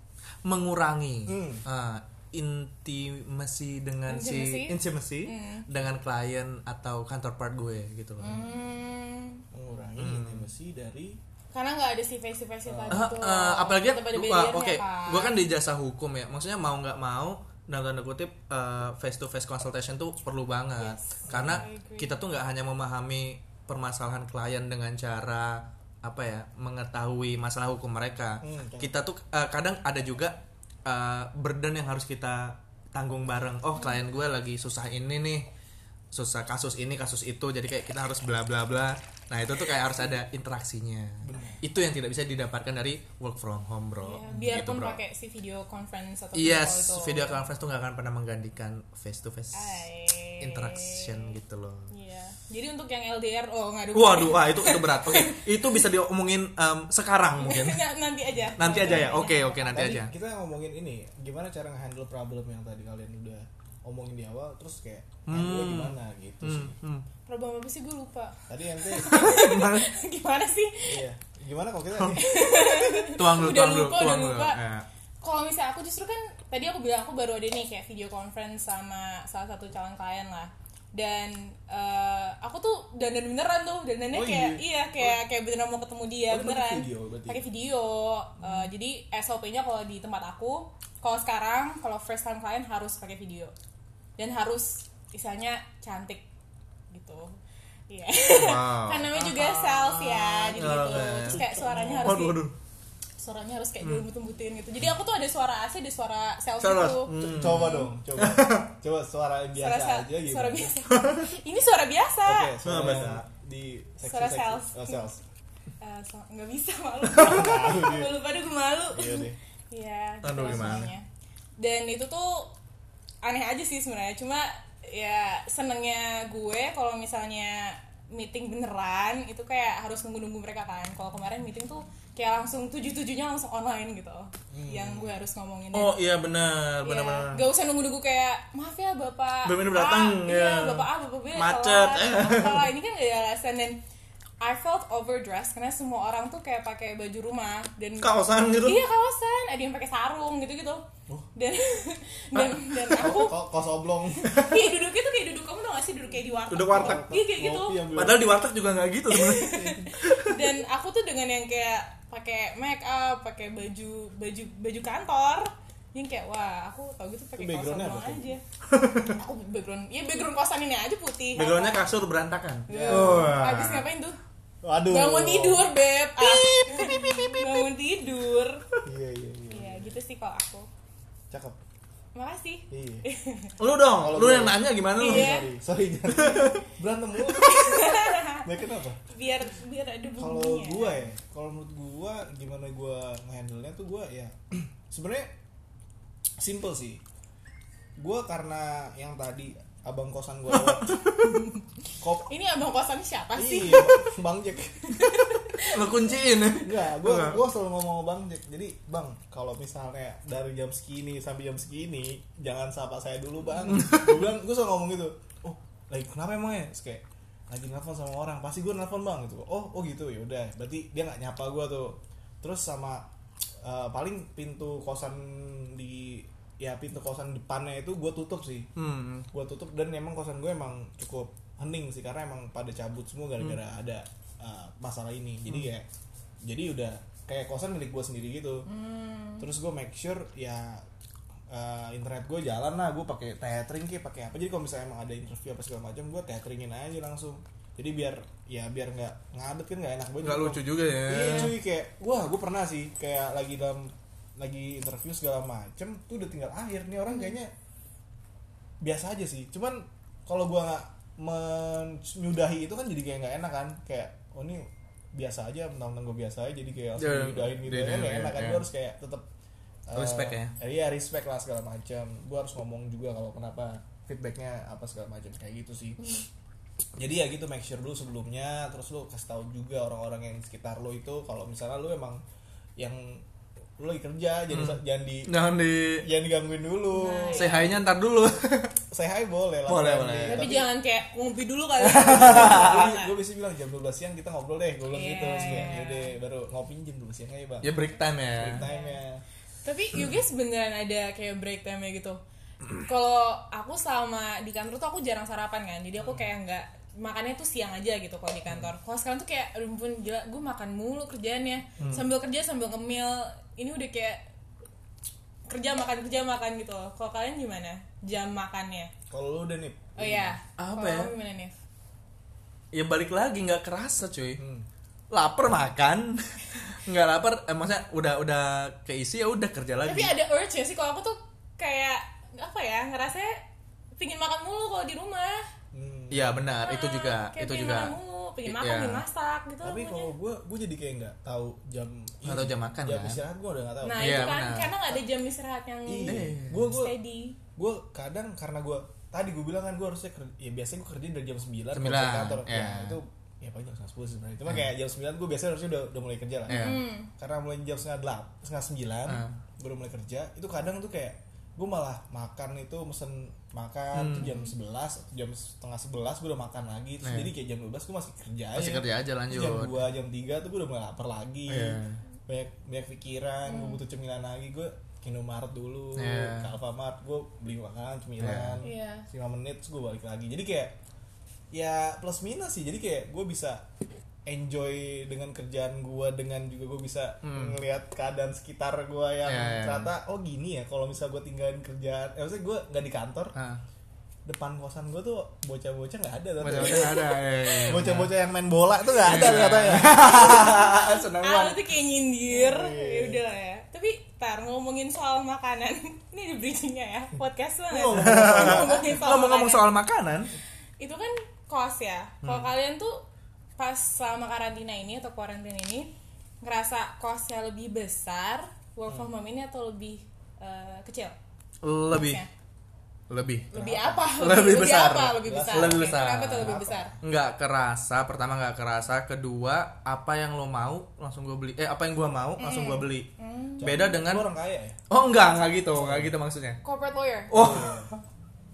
Speaker 1: mengurangi
Speaker 2: Hmm.
Speaker 1: eh, intimasi dengan si
Speaker 3: Intimacy?
Speaker 1: intimacy
Speaker 3: Iya.
Speaker 1: dengan klien atau counterpart gue gitu loh
Speaker 3: Hmm,
Speaker 2: mengurangi intimasi dari
Speaker 3: karena nggak ada si face to face
Speaker 1: Eh,
Speaker 3: tadi tuh.
Speaker 1: eh, apalagi
Speaker 3: Tetap ada
Speaker 1: gua-
Speaker 3: barriernya,
Speaker 1: oke
Speaker 3: kan?
Speaker 1: gue kan di jasa hukum ya maksudnya mau nggak mau dalam tanda kutip eh, face to face consultation tuh perlu banget karena
Speaker 3: I agree.
Speaker 1: kita tuh nggak hanya memahami permasalahan klien dengan cara apa ya mengetahui masalah hukum mereka
Speaker 2: Hmm, oke.
Speaker 1: kita tuh eh, kadang ada juga eh, burden yang harus kita tanggung bareng oh klien gue lagi susah ini nih susah kasus ini kasus itu jadi kayak kita harus bla bla bla nah itu tuh kayak harus ada interaksinya itu yang tidak bisa didapatkan dari work from home bro
Speaker 3: Iya, biarpun
Speaker 1: Gitu, bro.
Speaker 3: pakai si video conference atau
Speaker 1: yes
Speaker 3: video
Speaker 1: video
Speaker 3: call itu.
Speaker 1: conference tuh nggak akan pernah menggantikan face to face
Speaker 3: Ay.
Speaker 1: interaction gitu loh
Speaker 3: Iya. Jadi untuk yang LDR oh nggak ada
Speaker 1: Waduh, wah itu itu berat. Oke, itu bisa diomongin em, sekarang mungkin.
Speaker 3: Nggak, nanti aja.
Speaker 1: Nanti aja ya. Oke, oke nanti
Speaker 2: Tadi
Speaker 1: aja.
Speaker 2: kita ngomongin ini gimana cara nge-handle problem yang tadi kalian udah omongin di awal terus kayak handle gimana gitu sih
Speaker 1: Hmm.
Speaker 3: Problem apa sih gue lupa.
Speaker 2: tadi yang tuh
Speaker 3: Gimana sih?
Speaker 2: iya gimana kalau kita
Speaker 1: Tuang dulu,
Speaker 3: Udah
Speaker 1: tuang dulu,
Speaker 3: lupa, udah
Speaker 1: tuang dulu.
Speaker 3: lupa.
Speaker 1: Ya.
Speaker 3: Kalau misalnya aku justru kan tadi aku bilang aku baru ada nih kayak video conference sama salah satu calon klien lah. Dan eh, aku tuh dandan beneran tuh, dandannya
Speaker 2: Oh,
Speaker 3: kayak iya
Speaker 2: iya.
Speaker 3: kayak kayak beneran mau ketemu dia
Speaker 2: Oh, dia pakai
Speaker 3: beneran.
Speaker 2: video berarti? Hmm.
Speaker 3: Pakai video. Eh, jadi SOP-nya kalau di tempat aku, kalau sekarang kalau first time klien harus pakai video. Dan harus misalnya cantik gitu. Iya.
Speaker 1: Wow.
Speaker 2: Ah.
Speaker 3: Karena namanya juga sales ya, jadi gitu.
Speaker 1: Oke.
Speaker 3: Terus kayak suaranya harus
Speaker 1: Waduh,
Speaker 3: di-
Speaker 1: waduh.
Speaker 3: suaranya harus
Speaker 2: Hmm.
Speaker 3: kayak dilembut-lembutin gitu jadi aku tuh ada suara AC ada suara sales
Speaker 1: Suara-
Speaker 3: itu
Speaker 2: coba dong coba coba suara yang Hmm. biasa
Speaker 3: suara sel-
Speaker 2: aja gitu
Speaker 3: suara biasa ini suara biasa
Speaker 2: oke
Speaker 1: Suara
Speaker 2: suara
Speaker 1: biasa.
Speaker 2: di seksi
Speaker 3: Suara
Speaker 2: seksi
Speaker 3: sales.
Speaker 2: oh, sales
Speaker 3: Eh, so- nggak bisa malu
Speaker 2: dia.
Speaker 3: malu pada gue malu
Speaker 2: iya deh
Speaker 3: Iya,
Speaker 1: Aduh,
Speaker 3: gitu
Speaker 1: gimana?
Speaker 3: rasanya. Dan itu tuh aneh aja sih sebenarnya. Cuma ya senengnya gue kalau misalnya meeting beneran itu kayak harus nunggu-nunggu mereka kan. Kalau kemarin meeting tuh kayak langsung tujuh-tujuhnya langsung online gitu.
Speaker 2: Hmm.
Speaker 3: Yang gue harus ngomongin.
Speaker 1: Oh iya benar, benar benar.
Speaker 3: Gak usah nunggu-nunggu kayak maaf ya bapak.
Speaker 1: Bener-bener
Speaker 3: A,
Speaker 1: datang,
Speaker 3: Iya
Speaker 1: ya.
Speaker 3: bapak A bapak B.
Speaker 1: Macet, eh.
Speaker 3: Kalau ini kan gak ada alasan dan I felt overdressed karena semua orang tuh kayak pakai baju rumah dan
Speaker 1: Kaosan gitu.
Speaker 3: Iya kaosan, ada yang pakai sarung gitu-gitu.
Speaker 1: Oh.
Speaker 3: Dan dan dan aku
Speaker 2: Ko- kos oblong
Speaker 3: iya duduknya tuh kayak duduk kamu tau gak sih duduk kayak di warteg.
Speaker 1: Duduk warteg. Oh,
Speaker 3: Iya kayak gitu.
Speaker 2: Ngopi ambil-
Speaker 1: Padahal di warteg juga nggak gitu sebenarnya.
Speaker 3: Dan aku tuh dengan yang kayak pakai make up, pakai baju baju baju kantor. Yang kayak wah, aku tau gitu pakai
Speaker 2: Itu
Speaker 3: kaosan
Speaker 2: backgroundnya
Speaker 3: doang
Speaker 2: apa tuh?
Speaker 3: aja. aku background, ya background kosan ini aja putih.
Speaker 1: Backgroundnya kan? kasur berantakan.
Speaker 3: Ya.
Speaker 1: Wah.
Speaker 3: Habis ngapain tuh?
Speaker 2: waduh
Speaker 3: Bangun tidur, Beb. Ah. Bangun tidur.
Speaker 2: iya iya iya
Speaker 3: Iya, gitu sih kalau aku.
Speaker 2: cakep
Speaker 3: Makasih.
Speaker 2: iya
Speaker 1: Lu dong,
Speaker 2: Kalau
Speaker 1: lu
Speaker 2: gue-
Speaker 1: yang nanya gimana lu?
Speaker 3: Iya.
Speaker 2: sorry sorry jangan berantem mulu ya kenapa
Speaker 3: biar biar ada
Speaker 2: kalau
Speaker 3: bunyinya.
Speaker 2: gua ya kalau menurut gua gimana gua ngehandle nya tuh gua ya sebenarnya simple sih gua karena yang tadi abang kosan gua lewat, kop
Speaker 3: ini abang kosan siapa sih
Speaker 2: Iya, bang Jack
Speaker 1: Lu kunciin.
Speaker 2: enggak gua
Speaker 1: Enggak.
Speaker 2: gua selalu ngomong sama bang Jack jadi bang kalau misalnya dari jam segini sampai jam segini jangan sapa saya dulu bang gua bilang gua selalu ngomong gitu oh lagi kenapa emang ya Terus kayak lagi nelfon sama orang pasti gua nelfon bang gitu oh oh gitu ya udah berarti dia nggak nyapa gua tuh terus sama eh, paling pintu kosan di ya pintu kosan depannya itu gua tutup sih
Speaker 1: Hmm.
Speaker 2: gue tutup dan emang kosan gue emang cukup hening sih karena emang pada cabut semua gara-gara ada uh, masalah ini jadi kayak jadi udah kayak kosan milik gue sendiri gitu terus gue make sure ya uh, internet gue jalan lah gue pakai tethering kayak pakai apa jadi kalau misalnya emang ada interview apa segala macam gue tetheringin aja langsung jadi biar ya biar nggak ngadet kan nggak enak banget
Speaker 1: Enggak lucu juga ya.
Speaker 2: Iya cuy kayak wah gue pernah sih kayak lagi dalam lagi interview segala macem tuh udah tinggal akhir nih orang kayaknya biasa aja sih cuman kalau gue nggak menyudahi itu kan jadi kayak nggak enak kan kayak oh ini biasa aja mentang-mentang gue biasa aja jadi kayak langsung
Speaker 1: Ya,
Speaker 2: menyudahin gitu
Speaker 1: iya,
Speaker 2: kan nggak
Speaker 1: iya,
Speaker 2: enak kan
Speaker 1: iya.
Speaker 2: gue harus kayak tetap
Speaker 1: Respect ya.
Speaker 2: iya respect lah segala macam gue harus ngomong juga kalau kenapa feedbacknya apa segala macam kayak gitu sih jadi ya gitu make sure dulu sebelumnya terus lu kasih tahu juga orang-orang yang di sekitar lu itu kalau misalnya lu emang yang lu lagi kerja jadi
Speaker 1: Hmm.
Speaker 2: jangan di
Speaker 1: Jangan di
Speaker 3: Iya.
Speaker 2: jangan digangguin dulu
Speaker 1: say hi-nya ntar dulu.
Speaker 2: saya hai boleh lah
Speaker 1: Boleh,
Speaker 2: friendly.
Speaker 1: boleh.
Speaker 3: tapi,
Speaker 2: tapi
Speaker 3: jangan kayak ngopi dulu kali
Speaker 2: gue bisa bilang jam 12 siang kita ngobrol deh gue bilang
Speaker 3: Iya,
Speaker 2: gitu terus kayak,
Speaker 3: iya.
Speaker 2: "Yaudah, baru ngopinya jam 12 siang aja bang
Speaker 1: ya break time ya.
Speaker 2: time ya
Speaker 3: tapi you guys beneran ada kayak break time nya gitu kalau aku sama di kantor tuh aku jarang sarapan kan jadi aku kayak nggak makannya tuh siang aja gitu kalau di kantor kalau sekarang tuh kayak aduh ampun, gila gue makan mulu kerjaannya
Speaker 1: Hmm.
Speaker 3: sambil kerja sambil ngemil ini udah kayak kerja makan kerja makan gitu loh kalau kalian gimana jam makannya
Speaker 2: kalau lu udah nih
Speaker 3: oh ya
Speaker 1: Apa
Speaker 3: Kalau
Speaker 1: ya?
Speaker 3: kamu gimana nih
Speaker 1: Ya balik lagi nggak kerasa cuy.
Speaker 2: hmm,
Speaker 1: Laper makan. nggak lapar, eh, maksudnya udah udah keisi ya udah kerja
Speaker 3: tapi
Speaker 1: lagi.
Speaker 3: ada urge ya sih kalau aku tuh kayak apa ya ngerasanya pingin makan mulu kalau di rumah
Speaker 2: hmm.
Speaker 1: Iya benar,
Speaker 3: Ah,
Speaker 1: itu juga,
Speaker 3: kayak
Speaker 1: itu
Speaker 3: pingin
Speaker 1: juga.
Speaker 3: makan mulu pingin
Speaker 1: I-
Speaker 3: makan
Speaker 1: iya.
Speaker 3: pingin masak gitu
Speaker 2: tapi
Speaker 3: pokoknya.
Speaker 2: kalau gue gue jadi kayak nggak tahu jam
Speaker 1: Nggak tahu jam makan,
Speaker 2: jam
Speaker 1: kan?
Speaker 2: istirahat gue udah nggak tahu
Speaker 3: nah
Speaker 1: Iya,
Speaker 3: itu kan
Speaker 1: benar.
Speaker 3: karena nggak ada jam istirahat yang
Speaker 2: iya gue gue
Speaker 3: steady
Speaker 2: gue kadang karena gue tadi gue bilang kan gue harusnya kerja, ya biasanya gue kerja dari jam
Speaker 1: 9,
Speaker 2: 9 sampai kantor. Ya,
Speaker 1: ya.
Speaker 2: itu ya paling jam setengah 10 sebenarnya. Cuma kayak jam 9 gue biasanya harusnya udah, udah mulai kerja lah.
Speaker 1: Iya.
Speaker 2: Karena mulai jam setengah 8, setengah 9
Speaker 1: Ah.
Speaker 2: baru mulai kerja. Itu kadang tuh kayak gue malah makan itu mesen makan
Speaker 1: Hmm.
Speaker 2: tuh jam 11 atau jam setengah 11 gue udah makan lagi terus
Speaker 1: Iya.
Speaker 2: jadi kayak jam 12 gue masih kerja
Speaker 1: Masih
Speaker 2: aja.
Speaker 1: kerja aja
Speaker 2: Terus jam
Speaker 1: lanjut.
Speaker 2: 2 jam 3 tuh gue udah mulai lapar lagi
Speaker 1: Iya.
Speaker 2: banyak banyak pikiran gue butuh cemilan lagi gue ke Indomaret dulu
Speaker 1: Iya.
Speaker 2: ke Alfamart gue beli makanan cemilan
Speaker 3: Iya.
Speaker 2: lima menit terus gue balik lagi jadi kayak ya plus minus sih jadi kayak gue bisa enjoy dengan kerjaan gue dengan juga gue bisa ngelihat keadaan sekitar gue yang
Speaker 1: Iya, iya.
Speaker 2: ternyata oh gini ya kalau misal gue tinggalin kerjaan eh, maksudnya gue nggak di kantor
Speaker 1: Ah.
Speaker 2: depan kosan gue tuh bocah-bocah nggak ada tante.
Speaker 1: Macam-macam ada. eh.
Speaker 2: bocah-bocah yang main bola tuh nggak ada ternyata ya seneng
Speaker 3: Ah,
Speaker 2: banget
Speaker 3: lu tuh kayak nyindir.
Speaker 2: Oh, iya,
Speaker 3: Ya udah lah ya. Tapi tar ngomongin soal makanan. Ini di bridgingnya ya. Podcast banget. ngomongin
Speaker 1: Ngomong-ngomong
Speaker 3: makanan.
Speaker 1: soal makanan,
Speaker 3: itu kan kos ya.
Speaker 1: Hmm.
Speaker 3: Kalau kalian tuh pas selama karantina ini atau karantina ini ngerasa kosnya lebih besar, work from home ini atau lebih eh, kecil?
Speaker 1: Hmm. lebih
Speaker 3: Kosnya?
Speaker 1: lebih
Speaker 3: Lebih apa?
Speaker 1: Lebih besar.
Speaker 3: apa? Lebih besar.
Speaker 1: Lebih
Speaker 3: Oke,
Speaker 1: besar.
Speaker 3: Kenapa tuh lebih besar?
Speaker 1: nggak kerasa pertama nggak kerasa kedua apa yang lo mau langsung gue beli eh apa yang gue mau langsung
Speaker 3: Eh.
Speaker 1: gue beli
Speaker 3: Hmm.
Speaker 1: beda dengan
Speaker 2: Lu orang kaya ya
Speaker 1: oh enggak enggak gitu enggak gitu maksudnya
Speaker 3: Corporate lawyer.
Speaker 1: oh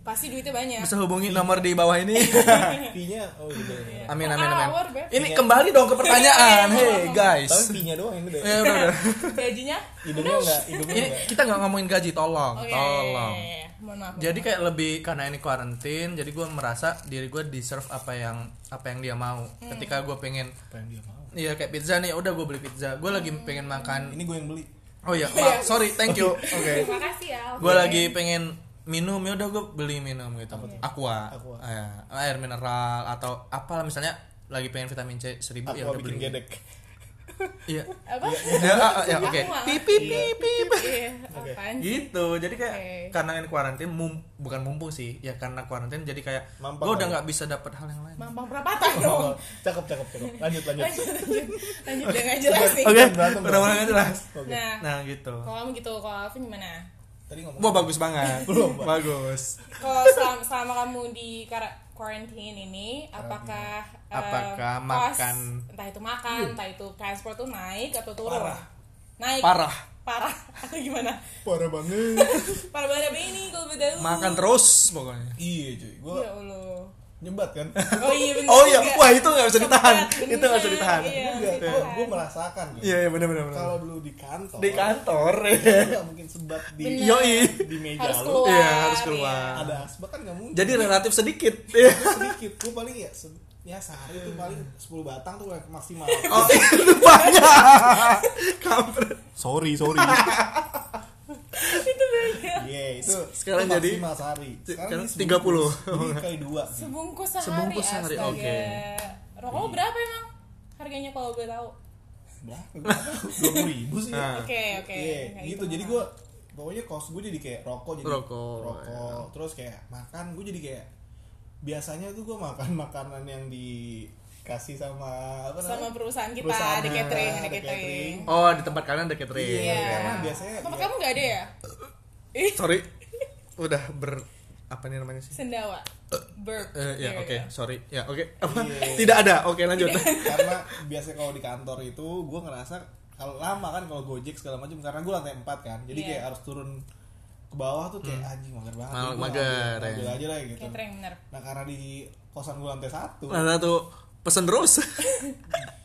Speaker 3: Pasti duitnya
Speaker 2: Iya.
Speaker 3: banyak.
Speaker 1: bisa hubungi nomor di bawah ini
Speaker 2: fee-nya oh iya, iya.
Speaker 1: amin amin amin
Speaker 3: Hour, Beb.
Speaker 1: ini kembali dong ke pertanyaan hey
Speaker 2: tapi
Speaker 1: guys
Speaker 2: fee-nya doang yang gede
Speaker 1: Eh, udah, udah.
Speaker 3: Gajinya?
Speaker 2: hidungnya nggak hidungnya
Speaker 1: ini
Speaker 2: nggak
Speaker 1: kita nggak ngomongin gaji tolong
Speaker 3: Oke.
Speaker 1: tolong
Speaker 3: Mohon maaf.
Speaker 1: jadi kayak lebih karena ini kuarantin jadi gue merasa diri gue deserve apa yang apa yang dia mau ketika gue pengen
Speaker 2: apa yang dia mau
Speaker 1: Iya kayak pizza nih, udah gue beli pizza. Gue lagi pengen makan.
Speaker 2: ini gue yang beli
Speaker 1: Oh iya, maaf, sorry, thank you. Oke.
Speaker 3: Terima kasih ya.
Speaker 1: Gue lagi pengen minum, ya udah gue beli minum gitu. Aqua,
Speaker 2: Aqua.
Speaker 1: Iya, air mineral atau apalah misalnya lagi pengen vitamin C seribu ya
Speaker 2: aku
Speaker 1: udah
Speaker 2: bikin
Speaker 1: beli.
Speaker 2: gedek
Speaker 1: Iya.
Speaker 3: Apa?
Speaker 1: Ya, ah, ah, ya,
Speaker 3: Aku
Speaker 1: oke.
Speaker 3: malah.
Speaker 1: Pip, pip, pip, pip.
Speaker 3: Iya, apaan sih?
Speaker 1: Gitu. Jadi kayak
Speaker 3: Oke.
Speaker 1: karena ini kuarantin mum- bukan mumpung sih, ya karena kuarantin jadi kayak
Speaker 2: Mampang
Speaker 1: gue udah
Speaker 2: kali.
Speaker 1: nggak bisa dapat hal yang lain.
Speaker 3: Mampang perapatan
Speaker 1: Iya.
Speaker 3: dong.
Speaker 2: Oh, cakep cakep cakep lanjut lanjut
Speaker 3: Lanjut, lanjut. Lanjut udah nggak jelas nih.
Speaker 1: Oke,
Speaker 2: Berantem,
Speaker 1: udah mulai aja lah.
Speaker 2: Oke.
Speaker 3: Nah,
Speaker 1: Nah, gitu.
Speaker 3: kalau kamu gitu, kalau Alvin gimana?
Speaker 2: tadi ngomong
Speaker 1: Wah, bagus banget. bagus.
Speaker 3: Kalau selama, selama kamu di kar- quarantine ini, apakah eh,
Speaker 1: Apakah
Speaker 3: kos,
Speaker 1: makan? Iya.
Speaker 3: entah itu makan, entah itu transport tuh naik atau turun?
Speaker 2: Parah.
Speaker 3: Naik.
Speaker 1: Parah.
Speaker 3: Parah atau gimana?
Speaker 2: parah banget
Speaker 3: Parah banget apa ini kalau beda
Speaker 1: Makan terus pokoknya.
Speaker 2: iya cuy gue
Speaker 3: Ya Allah.
Speaker 2: nyebat kan
Speaker 3: Oh iya benar.
Speaker 1: Oh iya,
Speaker 3: juga.
Speaker 1: wah itu nggak bisa ditahan.
Speaker 3: Bener,
Speaker 1: Itu nggak bisa ditahan.
Speaker 3: Iya,
Speaker 2: gue gue merasakan gitu.
Speaker 1: Iya iya benar benar benar.
Speaker 2: kalau dulu di kantor
Speaker 1: Di kan- kantor.
Speaker 2: lu nggak mungkin sebat di
Speaker 3: Bener.
Speaker 1: Yoi.
Speaker 2: di meja
Speaker 3: Harus
Speaker 2: lu
Speaker 3: keluar.
Speaker 1: Iya harus
Speaker 3: iya.
Speaker 1: keluar.
Speaker 2: ada asbak kan nggak mungkin
Speaker 1: Jadi relatif sedikit. Iya.
Speaker 2: sedikit gue paling ya se- ya sehari itu paling 10 batang tuh maksimal
Speaker 1: Oh itu banyak. Kampret.
Speaker 2: sorry sorry
Speaker 3: itu banyak.
Speaker 2: iya itu
Speaker 1: Sekarang
Speaker 2: itu
Speaker 1: jadi-
Speaker 2: maksimal sehari
Speaker 1: sekarang
Speaker 2: ini
Speaker 1: 30.
Speaker 2: Jadi kali dua
Speaker 3: iya. Sebungkus sehari.
Speaker 1: Sebungkus sehari,
Speaker 3: astaga.
Speaker 1: oke.
Speaker 3: Rokok lu berapa emang? Harganya kalau boleh tahu.
Speaker 2: berapa dua puluh ribu sih
Speaker 1: Nah.
Speaker 3: Oke, oke.
Speaker 2: Iya,
Speaker 3: Nggak
Speaker 2: gitu.
Speaker 3: hitung.
Speaker 2: Jadi gue pokoknya kos gue jadi kayak rokok jadi
Speaker 1: Rokok, oh, iya.
Speaker 2: rokok. Terus kayak makan gue jadi kayak biasanya tuh gue makan makanan yang dikasih sama apa
Speaker 3: sama perusahaan kita
Speaker 2: Perusahaan
Speaker 3: di
Speaker 2: kita,
Speaker 3: catering,
Speaker 2: ada
Speaker 3: di catering.
Speaker 2: catering.
Speaker 1: Oh di tempat kalian ada catering.
Speaker 3: Iya.
Speaker 2: Karena biasanya-
Speaker 3: Tempat
Speaker 2: iya.
Speaker 3: kamu nggak ada ya? Ih,
Speaker 1: Sorry. Udah ber apa nih namanya sih?
Speaker 3: sendawa. Iya, Burp.
Speaker 1: Eh, ya
Speaker 3: There
Speaker 1: oke
Speaker 3: you go.
Speaker 1: sorry ya oke apa
Speaker 2: Iya.
Speaker 1: tidak ada oke lanjut
Speaker 2: karena biasanya kalau di kantor itu gue ngerasa kalau lama kan kalau gojek segala macam karena gue lantai 4 kan jadi
Speaker 3: Iya.
Speaker 2: kayak harus turun ke bawah tuh kayak anjing mager banget
Speaker 1: Mal-
Speaker 2: Jadi gua
Speaker 1: Hmm. mager,
Speaker 2: ngambil-
Speaker 1: ya.
Speaker 2: ngambil aja lah gitu
Speaker 3: iya. Catering bener.
Speaker 2: nah karena di kosan gue lantai satu
Speaker 1: nah satu pesen terus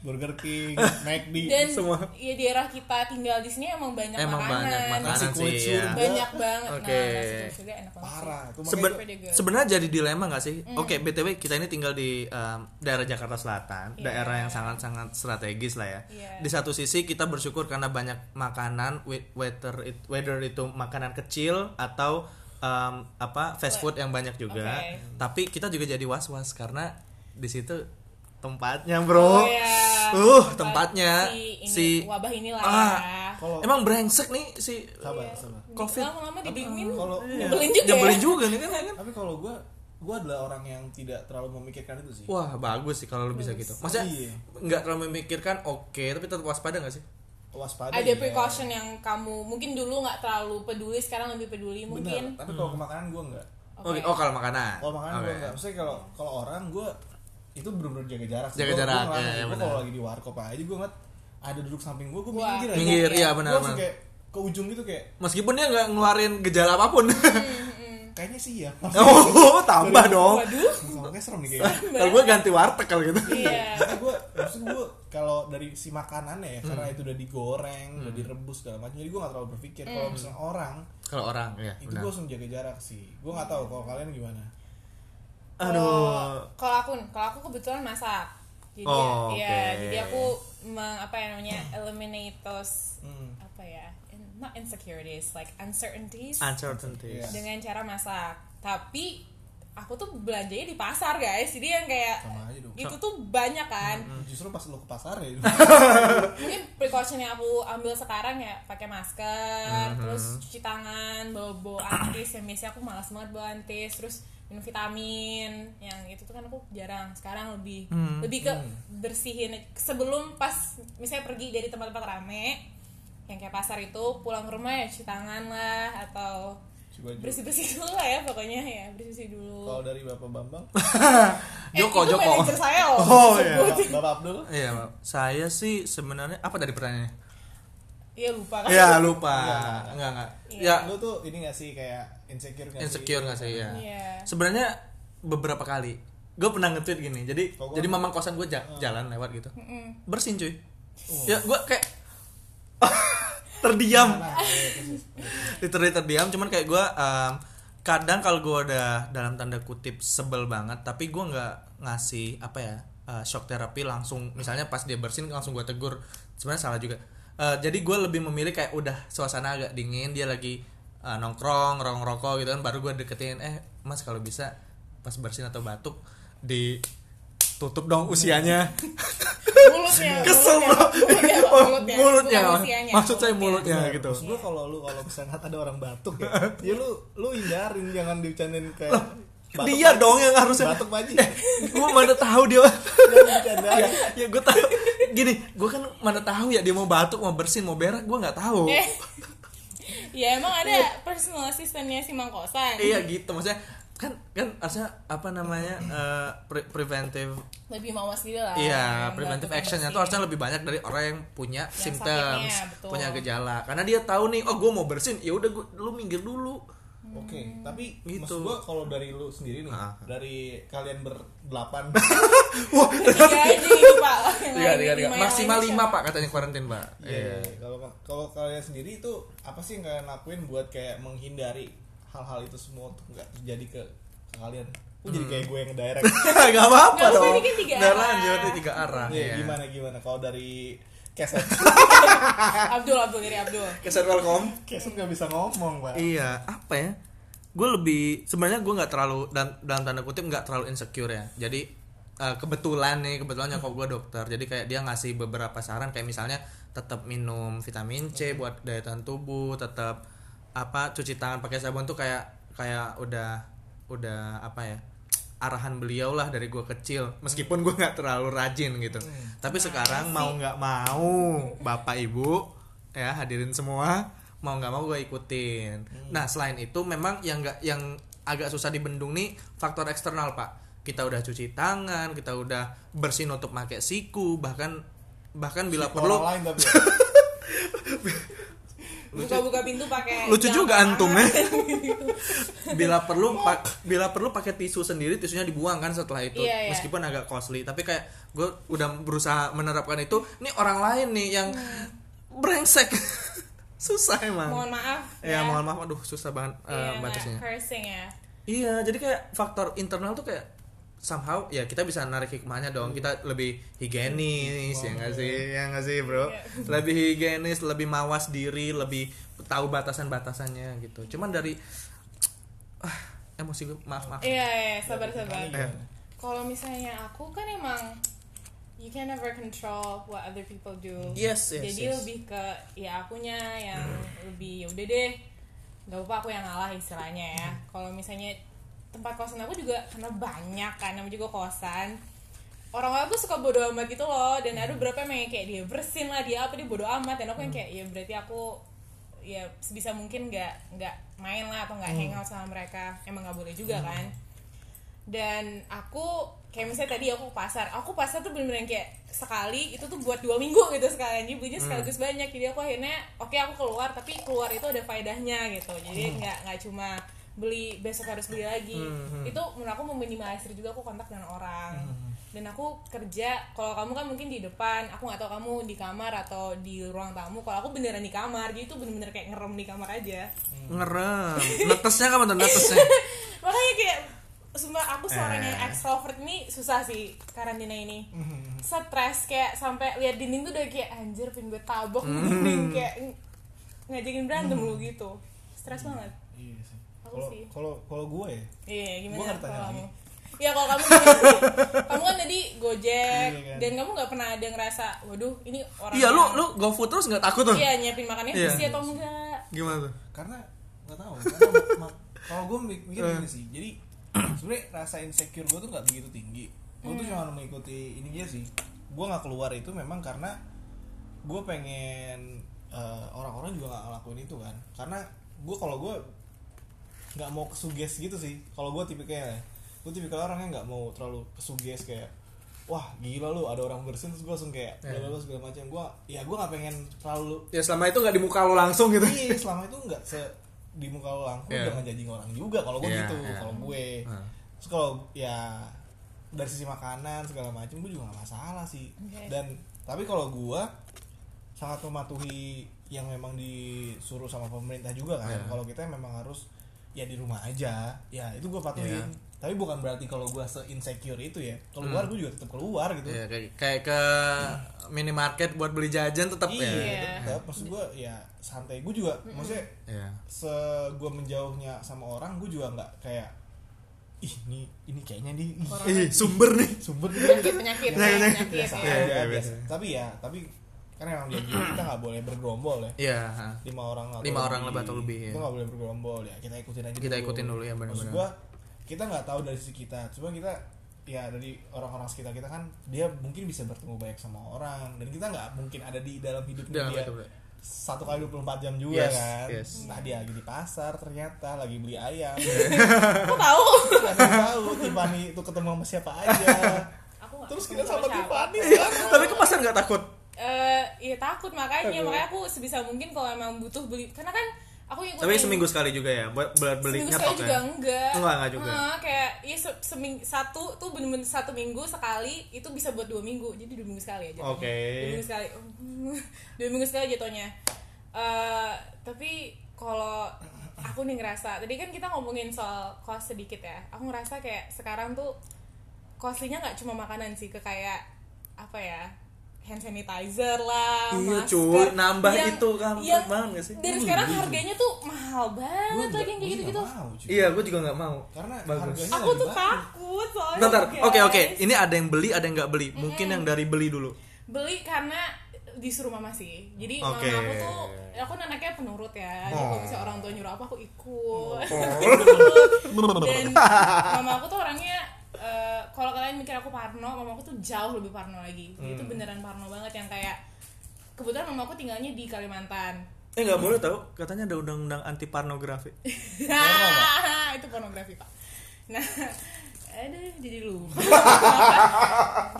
Speaker 2: Burger King McD
Speaker 3: Dan
Speaker 1: Semua.
Speaker 3: ya di daerah kita tinggal di sini emang banyak
Speaker 1: emang
Speaker 3: makanan.
Speaker 1: banyak
Speaker 2: Nasi
Speaker 1: makanan
Speaker 2: kulit
Speaker 1: sih ya
Speaker 2: surga.
Speaker 3: Banyak banget.
Speaker 1: Oke.
Speaker 3: Nah, nasi kulit juga enak banget.
Speaker 2: parah tuh
Speaker 1: Seben-
Speaker 3: Pretty good.
Speaker 1: sebenarnya jadi dilema nggak sih?
Speaker 3: Mm.
Speaker 1: Oke, btw kita ini tinggal di em, daerah Jakarta Selatan,
Speaker 3: Iya.
Speaker 1: daerah yang sangat-sangat strategis lah ya.
Speaker 3: Iya.
Speaker 1: Di satu sisi kita bersyukur karena banyak makanan, we- whether it, whether itu makanan kecil atau em, apa fast food yang banyak juga.
Speaker 3: Oke.
Speaker 1: Tapi kita juga jadi was-was karena di situ tempatnya
Speaker 3: Oh,
Speaker 1: bro,
Speaker 3: iya.
Speaker 1: uh
Speaker 3: Tempat
Speaker 1: tempatnya
Speaker 3: si ini,
Speaker 1: si,
Speaker 3: wabah inilah
Speaker 1: Ah,
Speaker 3: ya.
Speaker 2: Kalau-
Speaker 1: emang brengsek nih si
Speaker 2: sabar
Speaker 3: Iya.
Speaker 2: sabar
Speaker 1: Covid.
Speaker 3: Lama-lama dibingungin.
Speaker 2: kalau- iya.
Speaker 3: Nyebelin juga
Speaker 1: Nyebelin
Speaker 3: ya.
Speaker 1: juga nih kan. kan?
Speaker 2: tapi kalau gue gue adalah orang yang tidak terlalu memikirkan itu sih
Speaker 1: Wah bagus sih kalau lu bisa gitu. Maksudnya
Speaker 2: Iya.
Speaker 1: nggak terlalu memikirkan oke, tapi tetap waspada nggak sih?
Speaker 2: waspada
Speaker 3: Ada
Speaker 2: ya.
Speaker 3: precaution yang kamu mungkin dulu nggak terlalu peduli, sekarang lebih peduli
Speaker 2: Bener,
Speaker 3: mungkin.
Speaker 2: tapi kalau ke makanan gue enggak
Speaker 3: Oke.
Speaker 1: Oke, oh kalau makanan.
Speaker 2: kalau makanan
Speaker 1: Hmm. Oke.
Speaker 2: gue nggak maksudnya kalau kalau orang gue itu bener-bener jaga jarak
Speaker 1: Jaga jarak,
Speaker 2: gue,
Speaker 1: iya, iya,
Speaker 2: gue
Speaker 1: benar.
Speaker 2: kalau lagi di warkop aja gue ngeliat ada duduk samping gue gue
Speaker 3: Wah.
Speaker 2: minggir aja
Speaker 1: Minggir,
Speaker 3: Iya,
Speaker 1: iya
Speaker 2: Gua
Speaker 1: benar.
Speaker 2: langsung
Speaker 1: benar.
Speaker 2: kayak ke ujung gitu kayak
Speaker 1: Meskipun dia nggak ngeluarin gejala apapun.
Speaker 2: kayaknya sih ya
Speaker 1: oh, tambah dong.
Speaker 3: Waduh.
Speaker 2: Soalnya serem nih kayaknya
Speaker 1: Kalau gue ganti warteg kalau gitu.
Speaker 3: Iya.
Speaker 2: Karena gue, maksud gue kalau dari si makanannya ya,
Speaker 1: Hmm.
Speaker 2: karena itu udah digoreng, udah direbus segala macam, jadi gue gak terlalu berpikir. Kalau
Speaker 3: Hmm.
Speaker 2: misalnya orang,
Speaker 1: Kalau orang ya.
Speaker 2: itu
Speaker 1: benar.
Speaker 2: gue langsung jaga jarak sih. Gue nggak tahu kalau kalian gimana.
Speaker 1: Aduh.
Speaker 3: Oh, Kalau- Kalau aku, kalau aku kebetulan masak. Jadi
Speaker 1: Oh,
Speaker 3: ya,
Speaker 1: oke.
Speaker 3: jadi aku me- apa ya namanya eliminate those
Speaker 2: Hmm.
Speaker 3: apa ya? in- not insecurities, like uncertainties
Speaker 1: Uncertainty.
Speaker 2: Iya.
Speaker 3: dengan cara masak. Tapi aku tuh belanjanya di pasar, guys. Jadi yang kayak
Speaker 2: Sama aja dong.
Speaker 3: itu tuh banyak kan.
Speaker 2: Justru pas lo ke pasar ya.
Speaker 3: Mungkin precaution yang aku ambil sekarang ya pakai masker, terus cuci tangan, bawa bawa antis yang biasanya aku malas banget bawa antis, terus minum vitamin yang itu tuh kan aku jarang sekarang lebih lebih ke bersihin sebelum pas misalnya pergi dari tempat-tempat rame yang kayak pasar itu pulang ke rumah ya cuci tangan lah atau
Speaker 2: Coba aja.
Speaker 3: bersih bersih dulu lah ya pokoknya ya bersih bersih dulu
Speaker 2: Kalau dari Bapak Bambang,
Speaker 1: Joko,
Speaker 3: eh, itu
Speaker 1: Joko.
Speaker 3: manajer saya loh
Speaker 1: Oh, iya.
Speaker 3: sebut.
Speaker 2: Bapak Bapak Abdul,
Speaker 1: Iya, Mbak. saya sih sebenarnya apa tadi pertanyaannya?
Speaker 3: iya lupa kan
Speaker 1: Ya lupa.
Speaker 2: Enggak,
Speaker 1: Enggak enggak. Ya
Speaker 3: Iya.
Speaker 2: lo tuh ini gak sih kayak insecure gak sih?
Speaker 1: insecure nggak sih ya?
Speaker 3: Iya.
Speaker 1: Sebenarnya beberapa kali gue pernah nge-tweet gini. Jadi
Speaker 2: Kok gua-
Speaker 1: jadi mamang kosan gue jalan lewat gitu. Bersin cuy. Ya gue kayak terdiam.
Speaker 2: Nah, iya, persis.
Speaker 1: literally terdiam cuman kayak gue kadang kalau gue udah dalam tanda kutip sebel banget tapi gue nggak ngasih apa ya eh, shock therapy langsung misalnya pas dia bersin langsung gue tegur sebenarnya salah juga Eh, jadi gue lebih memilih kayak udah suasana agak dingin dia lagi eh, nongkrong rong rokok gitu kan baru gue deketin eh mas kalau bisa pas bersin atau batuk di tutup dong usianya
Speaker 3: mulutnya
Speaker 1: kesel bro
Speaker 3: mulutnya
Speaker 1: mulutnya,
Speaker 3: mulutnya, bukan ya, usianya,
Speaker 1: maksud saya mulutnya
Speaker 2: Nah,
Speaker 1: gitu
Speaker 2: Maksud gue kalau lu kalau misalnya ada orang batuk ya, ya lu lu hindarin jangan diucanin kayak batuk
Speaker 1: dia
Speaker 2: Pak.
Speaker 1: dong yang harusnya
Speaker 2: batuk Pak Haji.
Speaker 1: gue Eh, mana tahu dia
Speaker 2: Jangan bercandain.
Speaker 1: ya gue tahu gini gue kan mana tahu ya dia mau batuk mau bersin mau berak gue nggak tahu
Speaker 3: Eh, ya emang ada personal assistantnya si mangkosan
Speaker 1: iya gitu maksudnya kan kan harusnya apa namanya eh, pre- preventive
Speaker 3: lebih mawas gitu lah
Speaker 1: iya
Speaker 3: yang
Speaker 1: preventive
Speaker 3: bantu
Speaker 1: actionnya tuh
Speaker 3: bersih.
Speaker 1: harusnya lebih banyak dari orang yang punya symptoms
Speaker 3: sakitnya, betul.
Speaker 1: punya gejala karena dia tahu nih oh gue mau bersin ya udah gue lu minggir dulu
Speaker 2: Oke, tapi
Speaker 1: Gitu.
Speaker 2: maksud gua kalau dari lu sendiri nih,
Speaker 1: Ah.
Speaker 2: dari kalian berdelapan,
Speaker 3: tiga aja gitu pak Yang
Speaker 1: tiga
Speaker 3: lain-
Speaker 1: tiga tiga
Speaker 3: lima yang
Speaker 1: maksimal
Speaker 3: lainnya
Speaker 1: lima
Speaker 3: siapa?
Speaker 1: pak katanya kuarantin pak
Speaker 2: iya, kalau kalau kalian sendiri itu apa sih yang kalian lakuin buat kayak menghindari hal-hal itu semua tuh nggak terjadi ke, ke kalian? Kok jadi kayak gue yang direct.
Speaker 1: nggak apa apa
Speaker 3: Nggak apa-apa,
Speaker 1: dong
Speaker 3: ini kan tiga
Speaker 1: Udah
Speaker 3: arah.
Speaker 1: lanjut ini tiga arah
Speaker 2: Iya,
Speaker 1: iya.
Speaker 2: Gimana gimana? Kalau dari keset,
Speaker 3: Abdul Abdul dari Abdul
Speaker 1: kesan welcome
Speaker 2: keset nggak bisa ngomong pak.
Speaker 1: Iya, apa ya? Gue lebih sebenarnya gue nggak terlalu dan dalam tanda kutip nggak terlalu insecure ya. Jadi eh, kebetulan nih kebetulan nyokap gue dokter, jadi kayak dia ngasih beberapa saran kayak misalnya tetap minum vitamin C buat daya tahan tubuh, tetap apa cuci tangan pakai sabun tuh kayak kayak udah udah apa ya arahan beliau lah dari gue kecil meskipun gue nggak terlalu rajin gitu tapi sekarang mau nggak mau bapak ibu ya hadirin semua mau nggak mau gue ikutin nah selain itu memang yang nggak yang agak susah dibendung nih faktor eksternal pak kita udah cuci tangan kita udah bersih nutup pakai siku bahkan bahkan bila
Speaker 2: Kalau
Speaker 1: perlu
Speaker 2: orang lain tapi. ya.
Speaker 3: buka-buka pintu pakai
Speaker 1: lucu
Speaker 3: jam
Speaker 1: juga
Speaker 3: tangan.
Speaker 1: antum ya bila perlu pa- bila perlu pakai tisu sendiri tisunya dibuang kan setelah itu
Speaker 3: Iya, iya.
Speaker 1: meskipun agak costly tapi kayak gue udah berusaha menerapkan itu ini orang lain nih yang brengsek susah emang
Speaker 3: Hmm. mohon maaf
Speaker 1: ya, mohon maaf aduh susah banget eh,
Speaker 3: Iya, nggak
Speaker 1: batasnya
Speaker 3: cursing ya
Speaker 1: iya jadi kayak faktor internal tuh kayak somehow ya kita bisa narik hikmahnya dong kita lebih higienis ya nggak sih ya nggak sih bro
Speaker 3: Iya.
Speaker 1: lebih higienis lebih mawas diri lebih tahu batasan batasannya gitu cuman dari ah, emosi gue maaf maaf
Speaker 3: iya iya sabar sabar
Speaker 1: Eh,
Speaker 3: kalau misalnya aku kan emang you can never control what other people do.
Speaker 1: Yes, yes,
Speaker 3: Jadi
Speaker 1: yes.
Speaker 3: lebih ke ya akunya yang lebih ya udah deh. Gak apa aku yang ngalah istilahnya ya. Kalau misalnya tempat kosan aku juga karena banyak kan namanya juga kosan. Orang-orang tuh suka bodo amat gitu loh dan ada beberapa yang kayak dia bersin lah dia apa dia bodo amat dan aku yang kayak ya berarti aku ya sebisa mungkin nggak nggak main lah atau
Speaker 1: Hmm.
Speaker 3: nggak hangout sama mereka emang nggak boleh juga kan dan aku kayak misalnya tadi aku ke pasar aku ke pasar tuh bener-bener yang kayak sekali itu tuh buat dua minggu gitu sekalian jadi belinya sekaligus banyak jadi aku akhirnya oke aku keluar tapi keluar itu ada faedahnya gitu jadi nggak nggak cuma beli besok harus beli lagi itu menurut aku meminimalisir juga aku kontak dengan orang dan aku kerja kalau kamu kan mungkin di depan aku nggak tahu kamu di kamar atau di ruang tamu kalau aku beneran di kamar jadi itu bener-bener kayak ngerem di kamar aja
Speaker 1: Ngerem. Netesnya kapan tuh netesnya?
Speaker 3: makanya kayak sumpah aku seorang
Speaker 2: Eh.
Speaker 3: yang extrovert nih susah sih karantina ini stres kayak sampai lihat dinding tuh udah kayak anjir pengen gue tabok
Speaker 2: Hmm.
Speaker 3: nih dinding kayak ng- ngajakin berantem lu gitu stres banget
Speaker 2: Iya sih.
Speaker 3: Aku
Speaker 2: Kalau
Speaker 3: sih.
Speaker 2: kalau kalau gue ya,
Speaker 3: iya
Speaker 2: Gua
Speaker 3: gimana
Speaker 2: nggak tanya
Speaker 3: kalau
Speaker 2: lagi.
Speaker 3: kamu Iya kalau kamu kamu kan tadi gojek
Speaker 2: Iya kan.
Speaker 3: dan kamu nggak pernah ada ngerasa waduh ini orang
Speaker 1: Iya lu
Speaker 3: yang-
Speaker 1: lu go food terus nggak takut tuh?
Speaker 3: ya. iya nyiapin makannya
Speaker 1: Iya.
Speaker 3: bersih atau enggak
Speaker 1: Gimana tuh?
Speaker 2: karena nggak tahu. karena ma- ma- Kalau gue mik- mikir gini sih, jadi sebenarnya rasa insecure gue tuh nggak begitu tinggi. Gue tuh cuma mengikuti ini aja sih. Gue nggak keluar itu memang karena gue pengen eh, orang-orang juga nggak ngelakuin itu kan. Karena gue kalau gue nggak mau kesuges gitu sih. Kalau gue tipikalnya, gue tipikal orangnya nggak mau terlalu kesuges kayak wah gila lu ada orang bersin terus gue langsung kayak
Speaker 1: Iya.
Speaker 2: lalu segala macam gue ya gue nggak pengen terlalu
Speaker 1: Ya selama itu nggak di muka lu langsung gitu.
Speaker 2: iya selama itu nggak se di muka lo langsung
Speaker 1: Iya.
Speaker 2: jangan judging orang juga kalau gue
Speaker 1: Iya,
Speaker 2: gitu
Speaker 1: iya.
Speaker 2: kalau gue
Speaker 1: Hmm.
Speaker 2: terus kalau ya dari sisi makanan segala macam gue juga gak masalah sih
Speaker 3: Oke.
Speaker 2: dan tapi kalau gue sangat mematuhi yang memang disuruh sama pemerintah juga kan
Speaker 1: Iya.
Speaker 2: kalau kita memang harus ya di rumah aja ya itu gue patuhin
Speaker 1: Iya.
Speaker 2: tapi bukan berarti kalau gue se insecure itu ya keluar gue juga tetap keluar gitu
Speaker 1: Hmm. Iya kayak, kayak ke minimarket buat beli jajan tetap ya.
Speaker 3: Iya.
Speaker 2: iya tetap maksud gue ya santai gue juga maksudnya
Speaker 1: Iya.
Speaker 2: se gue menjauhnya sama orang gue juga nggak kayak ih ini ini kayaknya di ih,
Speaker 3: Corona.
Speaker 1: Ih, sumber nih.
Speaker 2: sumber gitu."
Speaker 3: penyakit penyakit
Speaker 1: Penyakit,
Speaker 3: penyakit
Speaker 2: biasa
Speaker 3: ya.
Speaker 1: Iya,
Speaker 2: aja,
Speaker 1: iya,
Speaker 2: biasa.
Speaker 1: biasa.
Speaker 2: tapi ya tapi karena emang janji kita nggak boleh bergerombol ya
Speaker 1: Iya.
Speaker 2: lima orang atau
Speaker 1: Lima orang lebih atau lebih,
Speaker 2: kita
Speaker 1: ya.
Speaker 2: nggak boleh bergerombol ya kita ikutin aja
Speaker 1: Kita ikutin dulu, ya, benar-benar.
Speaker 2: Maksud gua, kita nggak tahu dari sisi kita cuma kita ya dari orang-orang sekitar kita kan dia mungkin bisa bertemu banyak sama orang dan kita nggak mungkin ada di dalam hidupnya
Speaker 1: Dalam
Speaker 2: dia
Speaker 1: hidup dia.
Speaker 2: satu kali 24 jam juga
Speaker 1: Yes,
Speaker 2: kan
Speaker 1: yes.
Speaker 2: nah dia lagi di pasar ternyata lagi beli ayam Iya.
Speaker 3: aku tahu
Speaker 2: Gak ada yang tahu Tiffany itu ketemu sama siapa aja
Speaker 3: aku nggak
Speaker 2: terus
Speaker 3: ketemu
Speaker 2: kita sama
Speaker 3: siapa.
Speaker 2: Tiffany kan.
Speaker 1: Iya,
Speaker 2: sekarang
Speaker 1: Tapi ke pasar nggak takut.
Speaker 3: eh ya takut makanya makanya aku sebisa mungkin kalau emang butuh beli karena kan aku ngikutin
Speaker 1: Tapi seminggu sekali juga ya buat buat beli
Speaker 3: seminggu
Speaker 1: nyetok
Speaker 3: sekali juga
Speaker 1: ya.
Speaker 3: enggak
Speaker 1: Enggak, enggak juga.
Speaker 3: Heeh, kayak ya se- seming- satu tuh bener-bener satu minggu sekali itu bisa buat dua minggu jadi dua minggu sekali aja
Speaker 1: Oke.
Speaker 3: dua minggu sekali Oh, dua minggu sekali jatuhnya Eh, tapi kalau aku nih ngerasa tadi kan kita ngomongin soal cost sedikit ya aku ngerasa kayak sekarang tuh costnya nggak cuma makanan sih ke kayak apa ya hand sanitizer lah
Speaker 1: Iya,
Speaker 3: masker,
Speaker 1: cuy, nambah
Speaker 3: yang-
Speaker 1: itu kan.
Speaker 3: yang
Speaker 1: Mahal nggak sih? Hmm.
Speaker 3: dari sekarang harganya tuh mahal
Speaker 2: Gua
Speaker 3: banget
Speaker 2: nggak-
Speaker 3: lagi yang kayak
Speaker 2: gua sih
Speaker 3: gitu-gitu
Speaker 2: nggak mau, cuy.
Speaker 1: Iya, gue juga nggak mau.
Speaker 2: karena
Speaker 1: bagus.
Speaker 2: harganya
Speaker 3: aku
Speaker 2: lagi
Speaker 3: tuh
Speaker 2: banyak.
Speaker 3: takut soalnya
Speaker 1: Bentar,
Speaker 3: guys.
Speaker 1: oke oke. Ini ada yang beli, ada yang nggak beli. Mungkin yang dari beli dulu.
Speaker 3: beli karena disuruh mama sih jadi
Speaker 1: Oke.
Speaker 3: mama aku tuh aku kan anaknya penurut ya jadi kalau
Speaker 2: Oh.
Speaker 3: misalnya orang tua nyuruh apa aku ikut dan mama aku tuh orangnya eh, kalau kalian mikir aku parno mama aku tuh jauh lebih parno lagi Dia
Speaker 2: Hmm.
Speaker 3: itu beneran parno banget yang kayak kebetulan mama aku tinggalnya di Kalimantan
Speaker 1: Eh nggak boleh tau, katanya ada undang-undang anti pornografi.
Speaker 3: Hahaha, itu pornografi pak nah aduh jadi lupa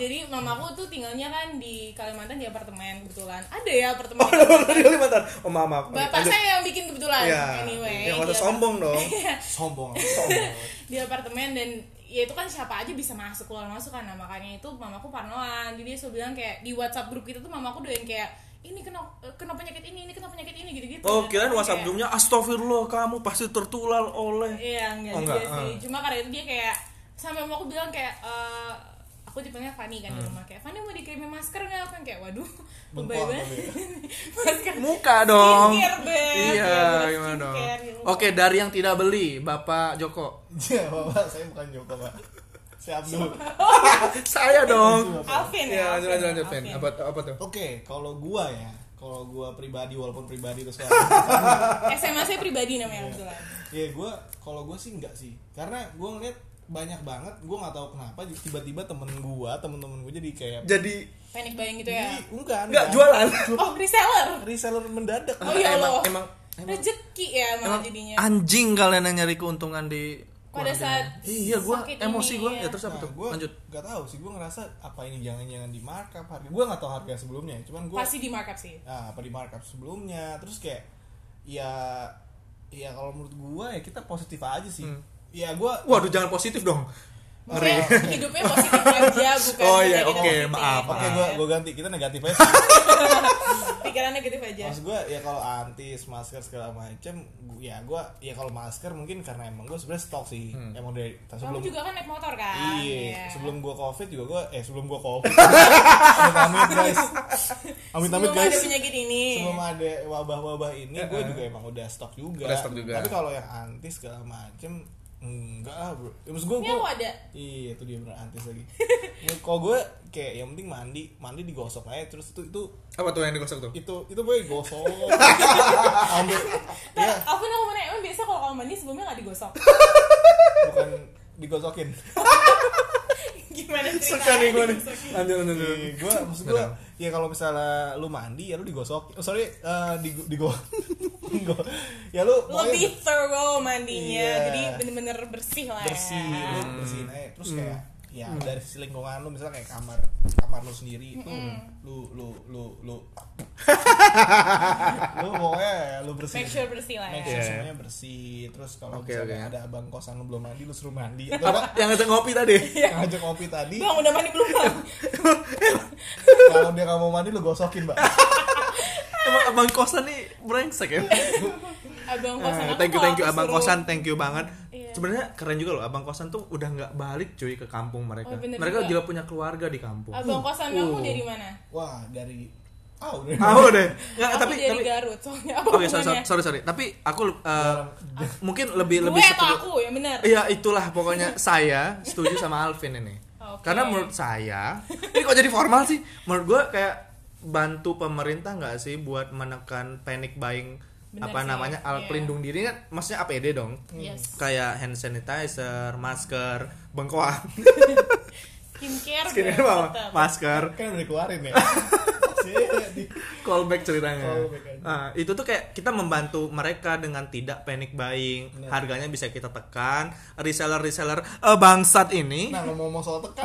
Speaker 3: jadi mamaku tuh tinggalnya kan di Kalimantan di apartemen kebetulan ada ya
Speaker 1: Oh,
Speaker 3: apartemen di Kalimantan.
Speaker 1: Bentar, oh maaf maaf.
Speaker 3: bapak
Speaker 1: Lanjut.
Speaker 3: saya yang bikin kebetulan
Speaker 1: Iya.
Speaker 3: anyway
Speaker 1: Yang
Speaker 3: di
Speaker 1: usah
Speaker 3: apart-
Speaker 1: sombong dong.
Speaker 2: sombong sombong
Speaker 3: di apartemen dan ya itu kan siapa aja bisa masuk keluar masuk kan nah, makanya itu mamaku parnoan jadi dia selalu bilang kayak di WhatsApp grup kita tuh mamaku doain kayak ini kena kena penyakit ini ini kena penyakit ini gitu gitu
Speaker 1: Oh kirain WhatsApp grupnya Astagfirullah kamu pasti tertular oleh
Speaker 3: Iya enggak
Speaker 1: Oh,
Speaker 3: juga
Speaker 1: enggak,
Speaker 3: sih. Cuma karena itu dia kayak sampai mau aku bilang kayak eh, aku dipanggil Fani
Speaker 1: Hmm.
Speaker 3: kan di rumah kayak Fani mau dikirimin masker nggak? Aku kan kayak waduh
Speaker 2: Bengkok
Speaker 3: lebay banget. masker
Speaker 1: muka dong.
Speaker 3: Iya. Skincare, Beb.
Speaker 1: Iya
Speaker 3: Ya, bener,
Speaker 1: gimana dong.
Speaker 3: skincare, gitu.
Speaker 1: Oke dari yang tidak beli Bapak Joko.
Speaker 2: ya bapak saya bukan Joko pak saya Abdul
Speaker 1: saya dong.
Speaker 3: Alvin
Speaker 1: Iya lanjut
Speaker 3: ya. Alvin,
Speaker 1: lanjut lanjut Vin.
Speaker 3: Alvin.
Speaker 1: Apa apa tuh?
Speaker 2: Oke, kalau gua ya, kalau gua pribadi walaupun pribadi terus sekarang,
Speaker 3: SMA saya pribadi
Speaker 1: Iya.
Speaker 3: namanya kebetulan.
Speaker 2: ya gua kalau gua sih enggak sih, karena gua ngeliat banyak banget, gua nggak tahu kenapa tiba-tiba temen gua, temen-temen gua jadi kayak
Speaker 1: Jadi
Speaker 3: Panic buying gitu ya.
Speaker 2: Ih, enggak,
Speaker 1: nggak jualan.
Speaker 3: Oh, reseller.
Speaker 2: reseller mendadak.
Speaker 3: Oh, iya
Speaker 1: Iya. emang,
Speaker 3: loh.
Speaker 1: emang
Speaker 3: rezeki ya malah
Speaker 1: Emang
Speaker 3: jadinya
Speaker 1: anjing kalian yang nyari keuntungan di
Speaker 3: Pada
Speaker 1: keluarga.
Speaker 3: saat
Speaker 1: iya gue
Speaker 3: sakit
Speaker 1: emosi
Speaker 3: ini,
Speaker 1: gue
Speaker 3: iya.
Speaker 1: ya terus apa tuh
Speaker 2: gue
Speaker 1: lanjut
Speaker 2: Gak Nah, tahu sih gue ngerasa apa ini jangan-jangan di markup harga. Gue nggak tahu harga sebelumnya, cuman gue
Speaker 3: pasti di markup sih
Speaker 2: nah, apa di markup sebelumnya. Terus kayak ya ya kalau menurut gue ya kita positif aja sih. Ya gue
Speaker 1: waduh jangan positif dong
Speaker 3: Maksudnya hidupnya positif aja bukan
Speaker 1: Oh,
Speaker 3: bukan
Speaker 1: iya,
Speaker 3: negatif.
Speaker 1: oke, maaf,
Speaker 2: Oke,
Speaker 3: Iya.
Speaker 2: gue gue ganti. Kita negatif aja.
Speaker 3: pikiran negatif aja
Speaker 2: Maksud gue ya kalau antis masker segala macem, gu- ya gue ya kalau masker mungkin karena emang gue sebenarnya stok sih. Emang dari
Speaker 3: kamu
Speaker 2: sebelum
Speaker 3: juga kan naik motor kan
Speaker 2: Iya,
Speaker 3: Iya.
Speaker 2: sebelum gua covid juga gua eh sebelum gua covid. amit amit guys. Amit amit
Speaker 3: Sebelum
Speaker 2: guys.
Speaker 3: ada penyakit ini
Speaker 2: Sebelum ada wabah-wabah ini gua juga emang udah stok juga.
Speaker 1: Udah stok juga.
Speaker 2: Tapi kalau yang anti segala macem enggak lah, Bro. Ya, maksud gua
Speaker 3: ini aku
Speaker 2: gua
Speaker 3: ada
Speaker 2: Iya, itu dia bener antis lagi. Ya, kalau gua kayak yang penting mandi, mandi digosok aja terus itu itu
Speaker 1: apa tuh yang digosok tuh
Speaker 2: itu itu boy gosok. Ambil
Speaker 1: Iya.
Speaker 2: ya
Speaker 3: Aku nih ngomongnya emang biasa kalau kamu mandi sebelumnya nggak digosok.
Speaker 2: bukan digosokin.
Speaker 3: Iya. Gimana ceritanya?
Speaker 1: suka nih gue nih
Speaker 3: Digosokin.
Speaker 1: lanjut lanjut lanjut.
Speaker 2: Iya, gua maksud gua ya kalau misalnya lu mandi ya lu digosok. Oh, sorry, eh di di gua. Gua- ya lu
Speaker 3: Lebih
Speaker 2: pokoknya
Speaker 3: thorough mandinya,
Speaker 2: Iya.
Speaker 3: jadi bener-bener bersih lah.
Speaker 2: bersih,
Speaker 3: Ya.
Speaker 2: lu bersihin
Speaker 1: Hmm.
Speaker 2: aja. Terus kayak ya dari sisi lingkungan lu misalnya kayak kamar kamar lu sendiri itu
Speaker 3: Hmm.
Speaker 2: lu lu lu lu lu pokoknya lu bersih
Speaker 3: Make sure bersih lah
Speaker 2: Make
Speaker 3: ya.
Speaker 2: sure
Speaker 1: Iya.
Speaker 2: semuanya bersih terus kalau
Speaker 1: Oke,
Speaker 2: misalnya
Speaker 1: oke.
Speaker 2: ada abang kosan lu belum mandi lu suruh mandi atau enggak
Speaker 1: yang ngajak ngopi tadi
Speaker 2: ngajak kopi tadi
Speaker 3: Iya. Bang udah mandi belum bang?
Speaker 2: kalau dia nggak mau mandi lu gosokin mbak
Speaker 1: emang abang kosan nih brengsek ya
Speaker 3: Abang kosan
Speaker 1: Eh,
Speaker 3: aku
Speaker 1: thank you
Speaker 3: kalau
Speaker 1: thank you
Speaker 3: aku
Speaker 1: abang
Speaker 3: suruh-
Speaker 1: kosan thank you banget
Speaker 3: Iya.
Speaker 1: sebenarnya keren juga loh abang kosan tuh udah nggak balik cuy ke kampung mereka
Speaker 3: Oh, bener
Speaker 1: mereka
Speaker 3: juga.
Speaker 1: juga punya keluarga di kampung
Speaker 3: Abang kosan kamu
Speaker 1: Uh.
Speaker 3: dari mana?
Speaker 2: wah dari ah udah
Speaker 1: tahu deh nggak
Speaker 3: Aku
Speaker 1: Ya, tapi
Speaker 3: dari
Speaker 1: tapi
Speaker 3: Garut soalnya. Apa
Speaker 1: Oke, sorry, sorry,
Speaker 3: hubungannya?
Speaker 1: sorry, sorry. Tapi aku eh, mungkin lebih lebih
Speaker 3: Gue atau
Speaker 1: setuju-
Speaker 3: aku ya benar.
Speaker 1: Iya, itulah pokoknya saya setuju sama Alvin ini.
Speaker 3: Oke.
Speaker 1: Karena menurut saya, ini kok jadi formal sih? Menurut gue kayak bantu pemerintah nggak sih buat menekan panic buying
Speaker 3: Bener
Speaker 1: apa
Speaker 3: sih,
Speaker 1: namanya
Speaker 3: iya.
Speaker 1: alat pelindung diri kan maksudnya APD dong
Speaker 3: Yes.
Speaker 1: kayak hand sanitizer masker bengkoang
Speaker 3: Skincare.
Speaker 1: Skincare
Speaker 3: gue
Speaker 1: apa?
Speaker 3: tetap.
Speaker 1: masker
Speaker 2: kan udah dikeluarin ya Sih, di-
Speaker 1: callback ceritanya.
Speaker 2: Callback aja.
Speaker 1: Nah, itu tuh kayak kita membantu mereka dengan tidak panic buying.
Speaker 2: Bener.
Speaker 1: Harganya bisa kita tekan. Reseller-reseller eh, bangsat ini.
Speaker 2: nah ngomong-ngomong soal tekan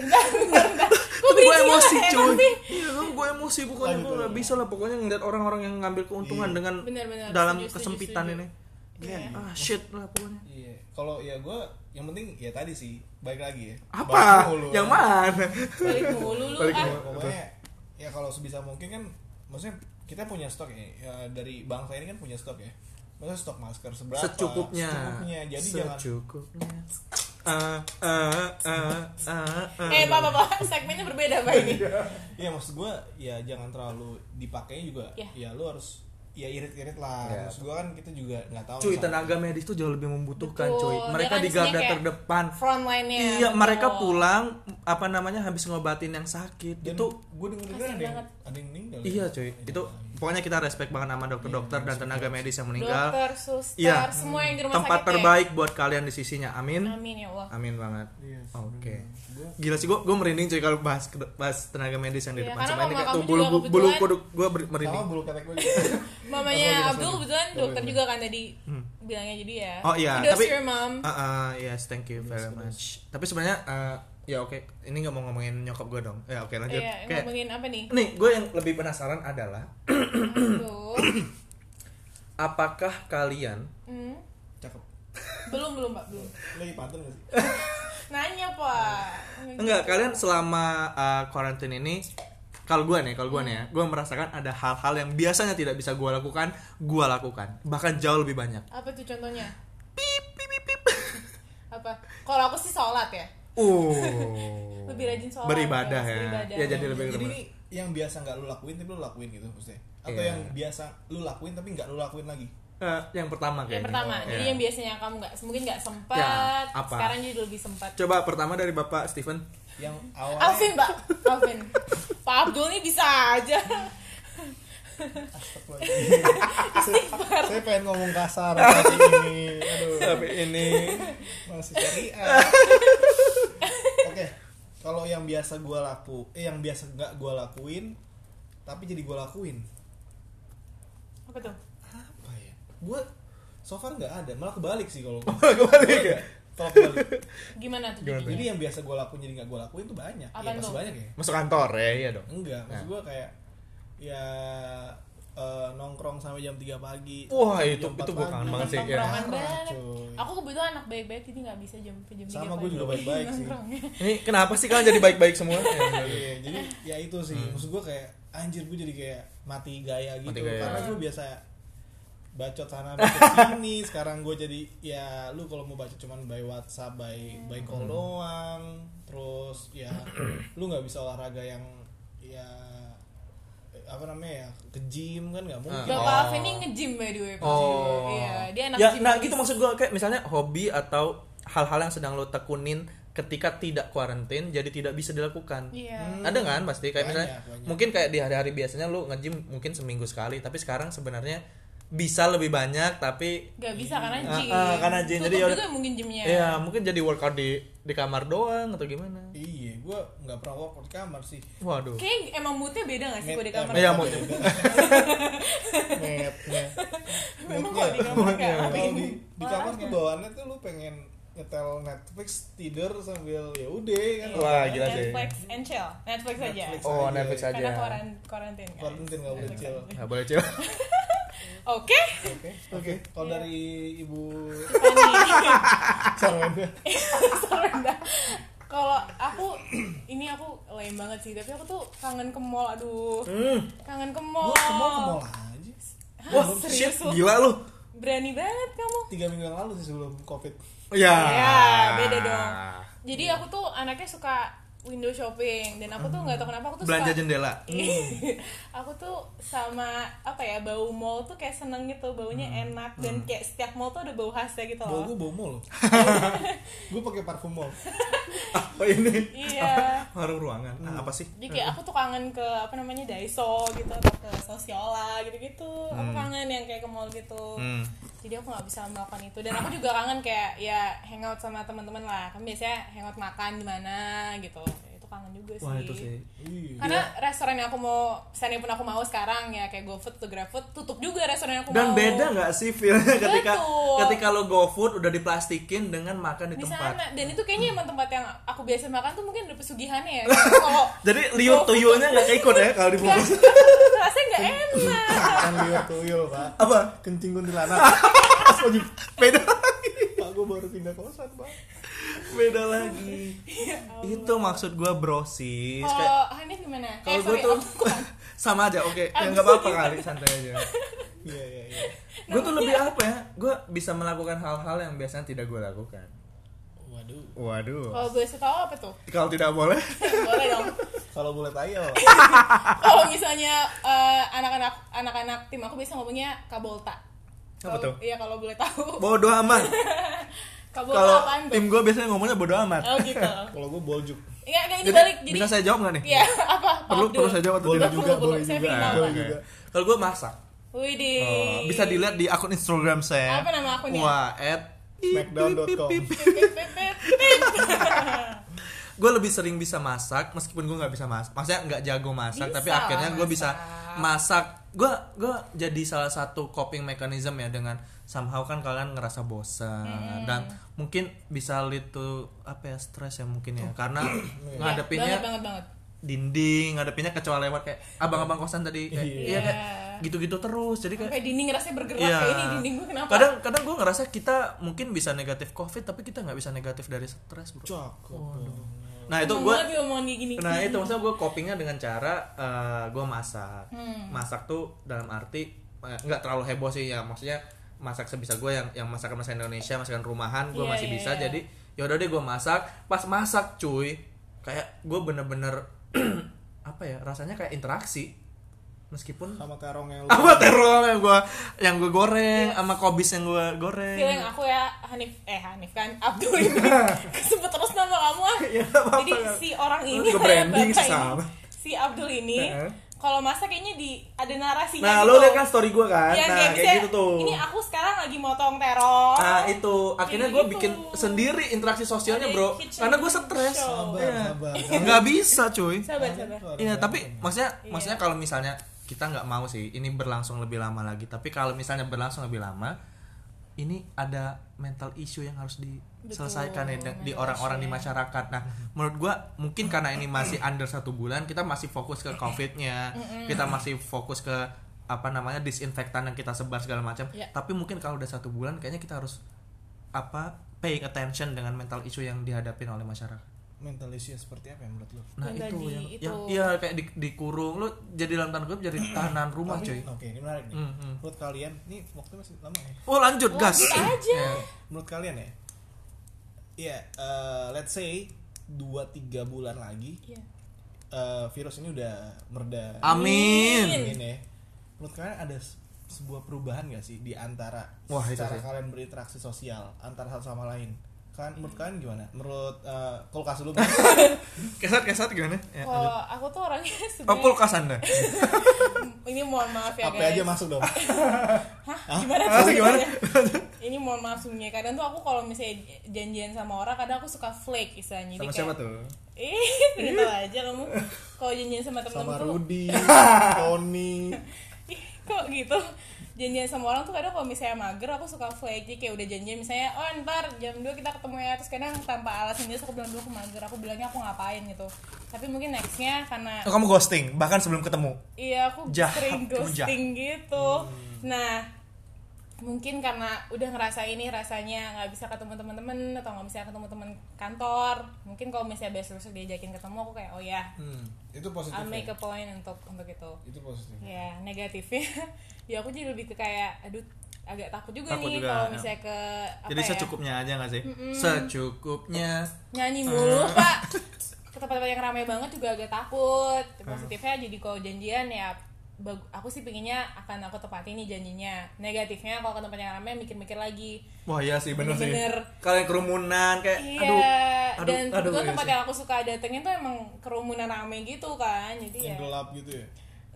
Speaker 3: Bentar, bentar, bentar. Kok ya?
Speaker 1: gue
Speaker 3: bridging-nya
Speaker 1: emosi
Speaker 3: enak
Speaker 1: cuy.
Speaker 3: sih?
Speaker 1: Iya, gue emosi pokoknya
Speaker 2: Lanjut, Iya.
Speaker 1: gue nggak bisa lah pokoknya ngeliat orang-orang yang ngambil keuntungan dengan
Speaker 3: Bener, bener.
Speaker 1: dalam
Speaker 3: Setuju, setuju,
Speaker 1: kesempitan
Speaker 3: setuju.
Speaker 1: ini.
Speaker 3: Iya.
Speaker 1: Ah shit lah pokoknya.
Speaker 2: iya kalau ya gue yang penting ya tadi sih baik lagi ya Balik
Speaker 1: Apa?
Speaker 2: mulu.
Speaker 1: Yang mana?
Speaker 3: Balik mulu lu
Speaker 1: Balik
Speaker 3: ah.
Speaker 1: mulu.
Speaker 2: pokoknya ya kalau sebisa mungkin kan maksudnya kita punya stok ya, ya, dari bangsa ini kan punya stok ya maksudnya stok masker seberapa
Speaker 1: Secukupnya.
Speaker 2: secukupnya jadi jangan
Speaker 1: Secukupnya. Eh, eh, eh, eh, eh.
Speaker 3: Eh, Pak, Pak, Pak, segmennya berbeda, Pak, ini.
Speaker 2: ya maksud gue ya jangan terlalu dipakainya juga
Speaker 3: Iya.
Speaker 2: ya lu harus ya irit-irit lah
Speaker 1: Iya.
Speaker 2: maksud gue kan kita juga nggak tahu
Speaker 1: Cuy,
Speaker 2: misalnya-
Speaker 1: tenaga medis tuh jauh lebih membutuhkan,
Speaker 3: Betul.
Speaker 1: cuy.
Speaker 3: Dia
Speaker 1: Mereka
Speaker 3: kan
Speaker 1: di
Speaker 3: isinya
Speaker 1: garda
Speaker 3: kayak
Speaker 1: terdepan.
Speaker 3: Frontline-nya.
Speaker 1: Iya, mereka
Speaker 3: betul.
Speaker 1: pulang apa namanya habis ngobatin yang sakit.
Speaker 2: dan
Speaker 1: itu
Speaker 2: gue denger denger
Speaker 3: Kasian
Speaker 2: ada yang
Speaker 3: banget.
Speaker 2: ada yang meninggal ya.
Speaker 1: iya, cuy. Itu pokoknya kita respect banget sama dokter-dokter dan tenaga medis yang meninggal.
Speaker 3: Dokter, suster,
Speaker 1: Iya.
Speaker 3: semua yang di rumah
Speaker 1: Tempat
Speaker 3: sakit ya.
Speaker 1: terbaik buat kalian di sisinya. Amin.
Speaker 3: Amin ya Allah.
Speaker 1: Amin banget.
Speaker 2: Iya,
Speaker 1: Oke.
Speaker 2: Gua-
Speaker 1: Gila sih gue gue merinding cuy kalau bahas bahas tenaga medis yang di
Speaker 3: Iya,
Speaker 1: depan
Speaker 3: karena
Speaker 1: sama ini
Speaker 3: mama
Speaker 1: kayak tuh
Speaker 3: kamu
Speaker 1: bulu
Speaker 3: juga
Speaker 1: bulu
Speaker 3: kebetulan-
Speaker 1: kuduk gue merinding.
Speaker 2: sama bulu ketek gue juga
Speaker 3: Mamanya
Speaker 2: Langsung
Speaker 3: Abdul kebetulan dokter
Speaker 2: Boleh,
Speaker 3: juga kan tadi bilangnya jadi ya.
Speaker 1: Hmm. Oh, iya,
Speaker 3: Kudos
Speaker 1: tapi-
Speaker 3: to your mom.
Speaker 1: Ah ah, yes, thank you very much. Tapi sebenarnya eh, ya oke, ini nggak mau ngomongin nyokap gue dong. Ya oke lanjut.
Speaker 3: Iya,
Speaker 1: Kayak-
Speaker 3: ngomongin apa nih?
Speaker 1: nih, gue yang lebih penasaran adalah
Speaker 3: Aduh.
Speaker 1: apakah kalian
Speaker 3: Hmm.
Speaker 2: cakep
Speaker 3: Belum belum Pak, belum.
Speaker 2: lagi pantun gak sih
Speaker 3: Nanya, Pak. gitu.
Speaker 1: enggak kalian selama eh, quarantine ini kalau gue nih, kalau gue nih ya, gue merasakan ada hal-hal yang biasanya tidak bisa gue lakukan, gue lakukan, bahkan jauh lebih banyak.
Speaker 3: Apa tuh contohnya? Apa? Kalau aku sih sholat ya.
Speaker 1: Uh,
Speaker 3: Lebih rajin sholat,
Speaker 1: beribadah
Speaker 3: ya,
Speaker 1: ya,
Speaker 3: beribadah.
Speaker 1: ya jadi lebih
Speaker 2: jadi ini yang biasa nggak lu lakuin tapi lu lakuin gitu maksudnya atau
Speaker 1: Iya.
Speaker 2: yang biasa lu lakuin tapi nggak lu lakuin lagi
Speaker 1: Eh, yang pertama kayaknya.
Speaker 3: Yang pertama,
Speaker 1: Iya.
Speaker 3: jadi yang biasanya kamu nggak mungkin nggak sempat,
Speaker 1: Ya, apa?
Speaker 3: sekarang jadi lebih sempat.
Speaker 1: Coba pertama dari Bapak Steven.
Speaker 2: yang awalnya
Speaker 3: Alvin, Pak. Alvin. Pak Abdul nih bisa aja.
Speaker 2: saya, saya pengen ngomong kasar tapi ini aduh
Speaker 1: Tapi ini
Speaker 2: masih syariah oke kalau yang biasa gua laku eh yang biasa nggak gua lakuin tapi jadi gua lakuin
Speaker 3: apa tuh
Speaker 2: apa ya gue so far nggak ada malah kebalik sih kalau gua.
Speaker 1: Malah kebalik ya?
Speaker 2: kalau kebalik
Speaker 3: gimana tuh
Speaker 1: Gimana tuh?
Speaker 2: jadi
Speaker 3: jadinya
Speaker 2: yang biasa gue lakuin jadi nggak gue lakuin tuh banyak
Speaker 3: Apa
Speaker 2: ya pasti
Speaker 3: tuh?
Speaker 2: banyak ya
Speaker 1: Masuk kantor ya, iya dong.
Speaker 2: enggak maksud gue kayak ya eh, nongkrong sampai jam 3 pagi
Speaker 1: Wah, itu-
Speaker 2: Jam 4
Speaker 1: itu gua
Speaker 2: pagi.
Speaker 1: kangen
Speaker 3: Nonton
Speaker 1: banget sih, ya.
Speaker 3: tongkrongan
Speaker 2: Parah,
Speaker 3: banget.
Speaker 2: cuy.
Speaker 3: aku kebetulan anak baik-baik jadi nggak bisa jam jam tiga
Speaker 2: Sama, gua
Speaker 3: pagi ya.
Speaker 2: juga baik-baik sih.
Speaker 3: nongkrongnya.
Speaker 1: Ini kenapa sih kalian jadi baik-baik semua?
Speaker 2: Iya, jadi ya itu sih. Maksud gue kayak anjir gue jadi kayak mati gaya gitu
Speaker 1: Hmm. Mati gaya.
Speaker 2: karena gue biasa bacot sana bacot sini. Sekarang gue jadi ya lu kalau mau bacot cuman by WhatsApp, by
Speaker 1: Hmm.
Speaker 2: by call doang. Terus ya lu nggak bisa olahraga yang ya eh, apa namanya ya ke gym kan nggak mungkin.
Speaker 3: Bapak
Speaker 1: Oh.
Speaker 3: Alvin ini nge-gym by the way Pak.
Speaker 1: Oh.
Speaker 3: Iya, dia anak
Speaker 1: ya,
Speaker 3: gym
Speaker 1: nah
Speaker 3: abis.
Speaker 1: gitu maksud gua kayak misalnya hobi atau hal-hal yang sedang lo tekunin ketika tidak kuarantin jadi tidak bisa dilakukan.
Speaker 3: Iya.
Speaker 1: Ada kan pasti kayak
Speaker 2: Banyak,
Speaker 1: misalnya
Speaker 2: banyak.
Speaker 1: mungkin kayak di hari-hari biasanya lo nge-gym mungkin seminggu sekali tapi sekarang sebenarnya bisa lebih banyak tapi
Speaker 3: Gak bisa karena
Speaker 1: Ah,
Speaker 3: gym.
Speaker 1: ah, karena gym.
Speaker 3: Tutup
Speaker 1: Jadi ya
Speaker 3: juga
Speaker 1: udah-
Speaker 3: mungkin gymnya.
Speaker 1: ya mungkin jadi workout di di kamar doang atau gimana.
Speaker 2: Iya, gue nggak pernah workout di kamar sih.
Speaker 1: Waduh.
Speaker 3: Kayaknya emang moodnya beda gak sih
Speaker 2: Met-
Speaker 3: kalau di kamar?
Speaker 2: eh,
Speaker 1: Iya,
Speaker 2: met-
Speaker 1: mau-
Speaker 2: met- met-
Speaker 3: Memang kalau di kamar gitu?
Speaker 2: Moodnya.
Speaker 3: nggak
Speaker 2: Kalau
Speaker 3: ngapain
Speaker 2: di, di kamar
Speaker 3: olahraga.
Speaker 2: tuh bawaannya tuh lu pengen nyetel Netflix tidur sambil ya udah kan
Speaker 3: Iya.
Speaker 1: Wah, gila sih.
Speaker 3: Netflix and chill. Netflix aja.
Speaker 2: Netflix
Speaker 1: Oh, Netflix aja.
Speaker 3: Karena koran ya. karantin. guys.
Speaker 2: Karantin nggak boleh
Speaker 3: Netflix
Speaker 2: chill.
Speaker 3: aja.
Speaker 1: Nggak boleh cewek.
Speaker 3: Oke. Iya.
Speaker 2: oke oke kalau dari ibu Sarwenda
Speaker 3: Sorenda. Kalau aku ini aku lame banget sih, tapi aku tuh kangen ke mall. Aduh.
Speaker 1: Hmm?
Speaker 3: Kangen ke mall.
Speaker 2: gua ke mall ke mall aja
Speaker 3: Hah,
Speaker 1: Wah, shit,
Speaker 3: serius lu?
Speaker 1: gila lu.
Speaker 3: Berani banget kamu.
Speaker 2: tiga minggu yang lalu sih sebelum covid
Speaker 1: Ya.
Speaker 3: Ya, beda dong. Jadi aku tuh anaknya suka window shopping dan aku tuh nggak tahu kenapa aku tuh
Speaker 1: Belanja
Speaker 3: suka
Speaker 1: jendela.
Speaker 3: Iya. aku tuh sama apa ya bau mall tuh kayak seneng gitu baunya enak dan kayak setiap mall tuh ada bau khasnya gitu loh
Speaker 2: bau gua bau mall loh gua pakai parfum mall
Speaker 1: Apa Oh, ini?
Speaker 3: iya
Speaker 1: Warung ruangan. Ah, apa sih?
Speaker 3: jadi kayak aku tuh kangen ke apa namanya Daiso gitu atau ke Sosiola gitu-gitu aku kangen yang kayak ke mall gitu
Speaker 1: Hmm.
Speaker 3: jadi aku nggak bisa melakukan itu dan aku juga kangen kayak ya hangout sama teman-teman lah kan biasanya hangout makan di mana gitu itu kangen juga sih
Speaker 1: Wah, itu sih. Iya.
Speaker 2: Ih,
Speaker 3: karena restoran yang aku mau pesannya pun aku mau sekarang ya kayak GoFood atau GrabFood tutup juga restoran yang aku
Speaker 1: Dan
Speaker 3: mau
Speaker 1: beda nggak sih feelnya ketika
Speaker 3: Betul.
Speaker 1: ketika lo go food udah diplastikin dengan makan di,
Speaker 3: di
Speaker 1: tempat.
Speaker 3: sana dan itu kayaknya emang tempat yang aku biasa makan tuh mungkin ada pesugihannya ya kalau
Speaker 1: Jadi liur
Speaker 3: GoFood
Speaker 1: tuyulnya nggak keikut ya kalau
Speaker 3: Nggak,
Speaker 1: dibungkus.
Speaker 3: rasanya nggak enak
Speaker 2: kan liur tuyul pak
Speaker 1: Apa?
Speaker 2: kencing kuntilanak
Speaker 1: Beda
Speaker 2: pak gua baru pindah kosan pak
Speaker 3: Iya.
Speaker 1: beda lagi.
Speaker 3: Ya
Speaker 1: itu maksud gua brosis. Iya, Kayak-
Speaker 3: kalau Hanif gimana
Speaker 1: Kalau
Speaker 3: eh,
Speaker 1: gue
Speaker 3: Oh, sorry,
Speaker 1: tuh
Speaker 3: aku-
Speaker 1: sama aja, oke. Ya
Speaker 3: Aku
Speaker 1: nggak apa-apa
Speaker 3: suka.
Speaker 1: kali, santai aja.
Speaker 2: iya iya iya
Speaker 1: Gue tuh lebih apa ya? Gue bisa melakukan hal-hal yang biasanya tidak gue lakukan.
Speaker 2: waduh
Speaker 1: Waduh.
Speaker 3: kalau gue suka apa tuh
Speaker 1: Kalau tidak boleh,
Speaker 3: boleh dong
Speaker 2: kalau boleh tayo
Speaker 3: kalau misalnya eh, anak-anak anak-anak tim aku biasa ngomongnya kabolta
Speaker 1: Apa
Speaker 3: Kalau-
Speaker 1: tuh?
Speaker 3: iya kalau boleh tahu
Speaker 1: bodoh amat.
Speaker 3: kabolta
Speaker 1: Kalau
Speaker 3: apaan tuh
Speaker 1: tim gue biasanya ngomongnya bodoh amat.
Speaker 3: oh gitu Iya,
Speaker 2: kalau gua boljuk
Speaker 3: Enggak, enggak, ini
Speaker 1: Jadi,
Speaker 3: balik. Jadi,
Speaker 1: bisa saya jawab nggak nih?
Speaker 3: Iya, apa? Pak
Speaker 1: Perlu
Speaker 3: Abdul?
Speaker 1: perlu saya jawab atau
Speaker 2: Boleh
Speaker 1: tidak? Iya,
Speaker 2: juga,
Speaker 3: perlu,
Speaker 2: boleh
Speaker 3: saya
Speaker 2: juga.
Speaker 3: minimal,
Speaker 2: Boleh
Speaker 3: Pak.
Speaker 2: juga.
Speaker 1: Kalau gue masak,
Speaker 3: Widih.
Speaker 1: Oh, bisa dilihat di akun Instagram saya.
Speaker 3: Apa nama akunnya?
Speaker 1: Wah, at
Speaker 2: Smackdown.com.
Speaker 3: Pip, pip, pip, pip, pip.
Speaker 1: Gue lebih sering bisa masak, meskipun gue nggak bisa masak. Maksudnya nggak jago masak,
Speaker 3: Bisa
Speaker 1: tapi akhirnya gue
Speaker 3: masak.
Speaker 1: bisa masak. Gue gue jadi salah satu coping mechanism ya dengan somehow kan kalian ngerasa bosan dan mungkin bisa lead to apa ya stres ya mungkin ya karena
Speaker 3: Iya, Banget,
Speaker 1: ngadepinnya
Speaker 3: banget, banget.
Speaker 1: dinding ngadepinnya kecoa lewat kayak abang-abang kosan tadi kayak,
Speaker 2: Iya.
Speaker 1: iya kayak gitu-gitu terus jadi kayak
Speaker 3: Sampai dinding ngerasa bergerak
Speaker 1: Iya.
Speaker 3: kayak ini dinding gue kenapa?
Speaker 1: kadang kadang gue ngerasa kita mungkin bisa negatif covid tapi kita nggak bisa negatif dari stres bro
Speaker 2: cakep dong.
Speaker 1: nah itu
Speaker 3: Seneng
Speaker 1: gue
Speaker 3: banget diomongan kayak gini.
Speaker 1: nah itu maksudnya gue copingnya dengan cara gue masak
Speaker 3: Hmm.
Speaker 1: masak tuh dalam arti eh, nggak terlalu heboh sih ya maksudnya masak sebisa gue yang yang masakan masakan Indonesia masakan rumahan gue
Speaker 3: Iya,
Speaker 1: masih
Speaker 3: iya,
Speaker 1: bisa
Speaker 3: iya.
Speaker 1: jadi yaudah deh gue masak pas masak cuy kayak gue bener-bener apa ya rasanya kayak interaksi meskipun
Speaker 3: Oh.
Speaker 2: sama terong yang lu
Speaker 1: sama terong yang gue yang gue goreng sama kobis yang gue goreng
Speaker 3: Feeling Iya. aku ya Hanif eh Hanif kan Abdul ini sebut terus nama kamu ah.
Speaker 1: Ya, nggak apa-apa.
Speaker 3: Jadi si orang ini
Speaker 1: Ke branding
Speaker 3: bapak
Speaker 1: sih
Speaker 3: ini,
Speaker 1: sama.
Speaker 3: si Abdul ini
Speaker 1: Heeh.
Speaker 3: kalau masak kayaknya di ada narasinya
Speaker 1: Nah,
Speaker 3: gitu.
Speaker 1: lo liat kan story gue kan?
Speaker 3: Iya,
Speaker 1: nah,
Speaker 3: kayak
Speaker 1: kayak,
Speaker 3: misalnya,
Speaker 1: gitu tuh.
Speaker 3: Ini aku sekarang lagi motong terong.
Speaker 1: Nah, itu akhirnya gue
Speaker 3: Oh, gitu.
Speaker 1: bikin sendiri interaksi sosialnya,
Speaker 3: Ada
Speaker 1: Bro.
Speaker 3: kitchen
Speaker 1: Karena gue stres.
Speaker 3: show.
Speaker 2: sabar
Speaker 1: Iya.
Speaker 2: sabar
Speaker 1: Nggak bisa, cuy.
Speaker 3: Sabar, sabar.
Speaker 1: Iya, tapi maksudnya
Speaker 3: Iya.
Speaker 1: maksudnya kalau misalnya kita nggak mau sih ini berlangsung lebih lama lagi tapi kalau misalnya berlangsung lebih lama ini ada mental issue yang harus diselesaikan ya di-
Speaker 3: Betul,
Speaker 1: di
Speaker 3: mental
Speaker 1: orang-orang di
Speaker 3: issue ya.
Speaker 1: masyarakat. Nah, menurut gua mungkin karena ini masih under satu bulan, kita masih fokus ke covidnya, kita masih fokus ke apa namanya disinfektan yang kita sebar segala macam.
Speaker 3: Ya.
Speaker 1: Tapi mungkin kalau udah satu bulan, kayaknya kita harus apa paying attention dengan mental issue yang dihadapin oleh masyarakat.
Speaker 2: mental issue seperti apa ya menurut lo?
Speaker 1: Nah
Speaker 3: Yang
Speaker 1: itu
Speaker 3: tadi,
Speaker 1: yang,
Speaker 3: itu.
Speaker 1: yang iya kayak di- dikurung lu jadi dalam tanda kutip jadi tahanan rumah
Speaker 2: Tapi-
Speaker 1: cuy.
Speaker 2: Oke, ini menarik nih.
Speaker 1: Hmm, hmm.
Speaker 2: Menurut kalian, nih waktu masih lama ya.
Speaker 1: Oh lanjut gas.
Speaker 3: Lanjut gitu aja.
Speaker 1: Ya.
Speaker 2: Menurut kalian ya? Iya, eh, let's say 2 3 bulan lagi
Speaker 3: Iya.
Speaker 2: eh, virus ini udah mereda.
Speaker 1: Ah, Amin.
Speaker 2: Ini ya. Menurut kalian ada se- sebuah perubahan gak sih di antara
Speaker 1: Wah, itu sih.
Speaker 2: cara kalian berinteraksi sosial antara satu sama lain? Kalian menurut kalian gimana? Menurut eh, kulkas dulu. Bang.
Speaker 1: Kesat kesat gimana? Ya, lanjut.
Speaker 3: Kalau aku tuh orangnya
Speaker 1: Oh,
Speaker 3: sebenarnya
Speaker 1: kulkas anda.
Speaker 3: ini mohon maaf ya
Speaker 2: HP
Speaker 3: guys.
Speaker 2: aja masuk dong.
Speaker 3: Hah? Gimana
Speaker 1: Ah,
Speaker 3: tuh?
Speaker 1: gimana?
Speaker 3: ini mohon maaf sebenarnya kadang tuh aku kalau misalnya janjian sama orang kadang aku suka flake istilahnya. Jadi
Speaker 1: Sama
Speaker 3: kayak,
Speaker 1: siapa tuh?
Speaker 3: Ih, gitu aja kamu. Kalau janjian sama temen-temen
Speaker 2: Sama
Speaker 3: tuh
Speaker 2: Rudy, Tony.
Speaker 3: Ih, kok gitu janjian sama orang tuh kadang kalau misalnya mager aku suka flake jadi kayak udah janjian misalnya oh ntar jam 2 kita ketemu ya terus kadang tanpa alasan jelas aku bilang dulu aku mager aku bilangnya aku ngapain gitu tapi mungkin nextnya karena
Speaker 4: Oh, kamu ghosting bahkan sebelum ketemu.
Speaker 3: iya aku
Speaker 1: Jahat, kamu
Speaker 3: sering
Speaker 1: jahat.
Speaker 3: ghosting gitu nah mungkin karena udah ngerasa ini rasanya nggak bisa ketemu teman-teman atau nggak bisa ketemu teman kantor mungkin kalau misalnya besok besok diajakin ketemu aku kayak oh ya
Speaker 2: Hmm, itu positif.
Speaker 3: I'll make a
Speaker 2: ya?
Speaker 3: point untuk untuk itu
Speaker 2: Itu positif.
Speaker 3: ya negatifnya ya aku jadi lebih ke kayak aduh agak takut juga
Speaker 1: Takut
Speaker 3: nih
Speaker 1: juga,
Speaker 3: kalau
Speaker 1: ya.
Speaker 3: misalnya ke apa
Speaker 1: Jadi
Speaker 3: ya,
Speaker 1: secukupnya aja gak sih? Secukupnya.
Speaker 3: nyanyi
Speaker 1: Hmm.
Speaker 3: mulu pak ke tempat-tempat yang ramai banget juga agak takut
Speaker 1: Hmm.
Speaker 3: positifnya jadi kalau janjian ya bag- aku sih pinginnya akan aku tepati nih janjinya negatifnya kalau ke tempat yang ramai mikir-mikir lagi
Speaker 1: Wah iya sih bener,
Speaker 3: Bener.
Speaker 1: sih. Kalian kerumunan kayak
Speaker 3: iya
Speaker 1: aduh. Eh, aduh,
Speaker 3: dan
Speaker 1: aduh,
Speaker 3: kebetulan
Speaker 1: iya
Speaker 3: tempat
Speaker 1: sih.
Speaker 3: yang aku suka datengin tuh emang kerumunan ramai gitu kan jadi ya
Speaker 1: Iya.
Speaker 2: Yang gelap gitu ya.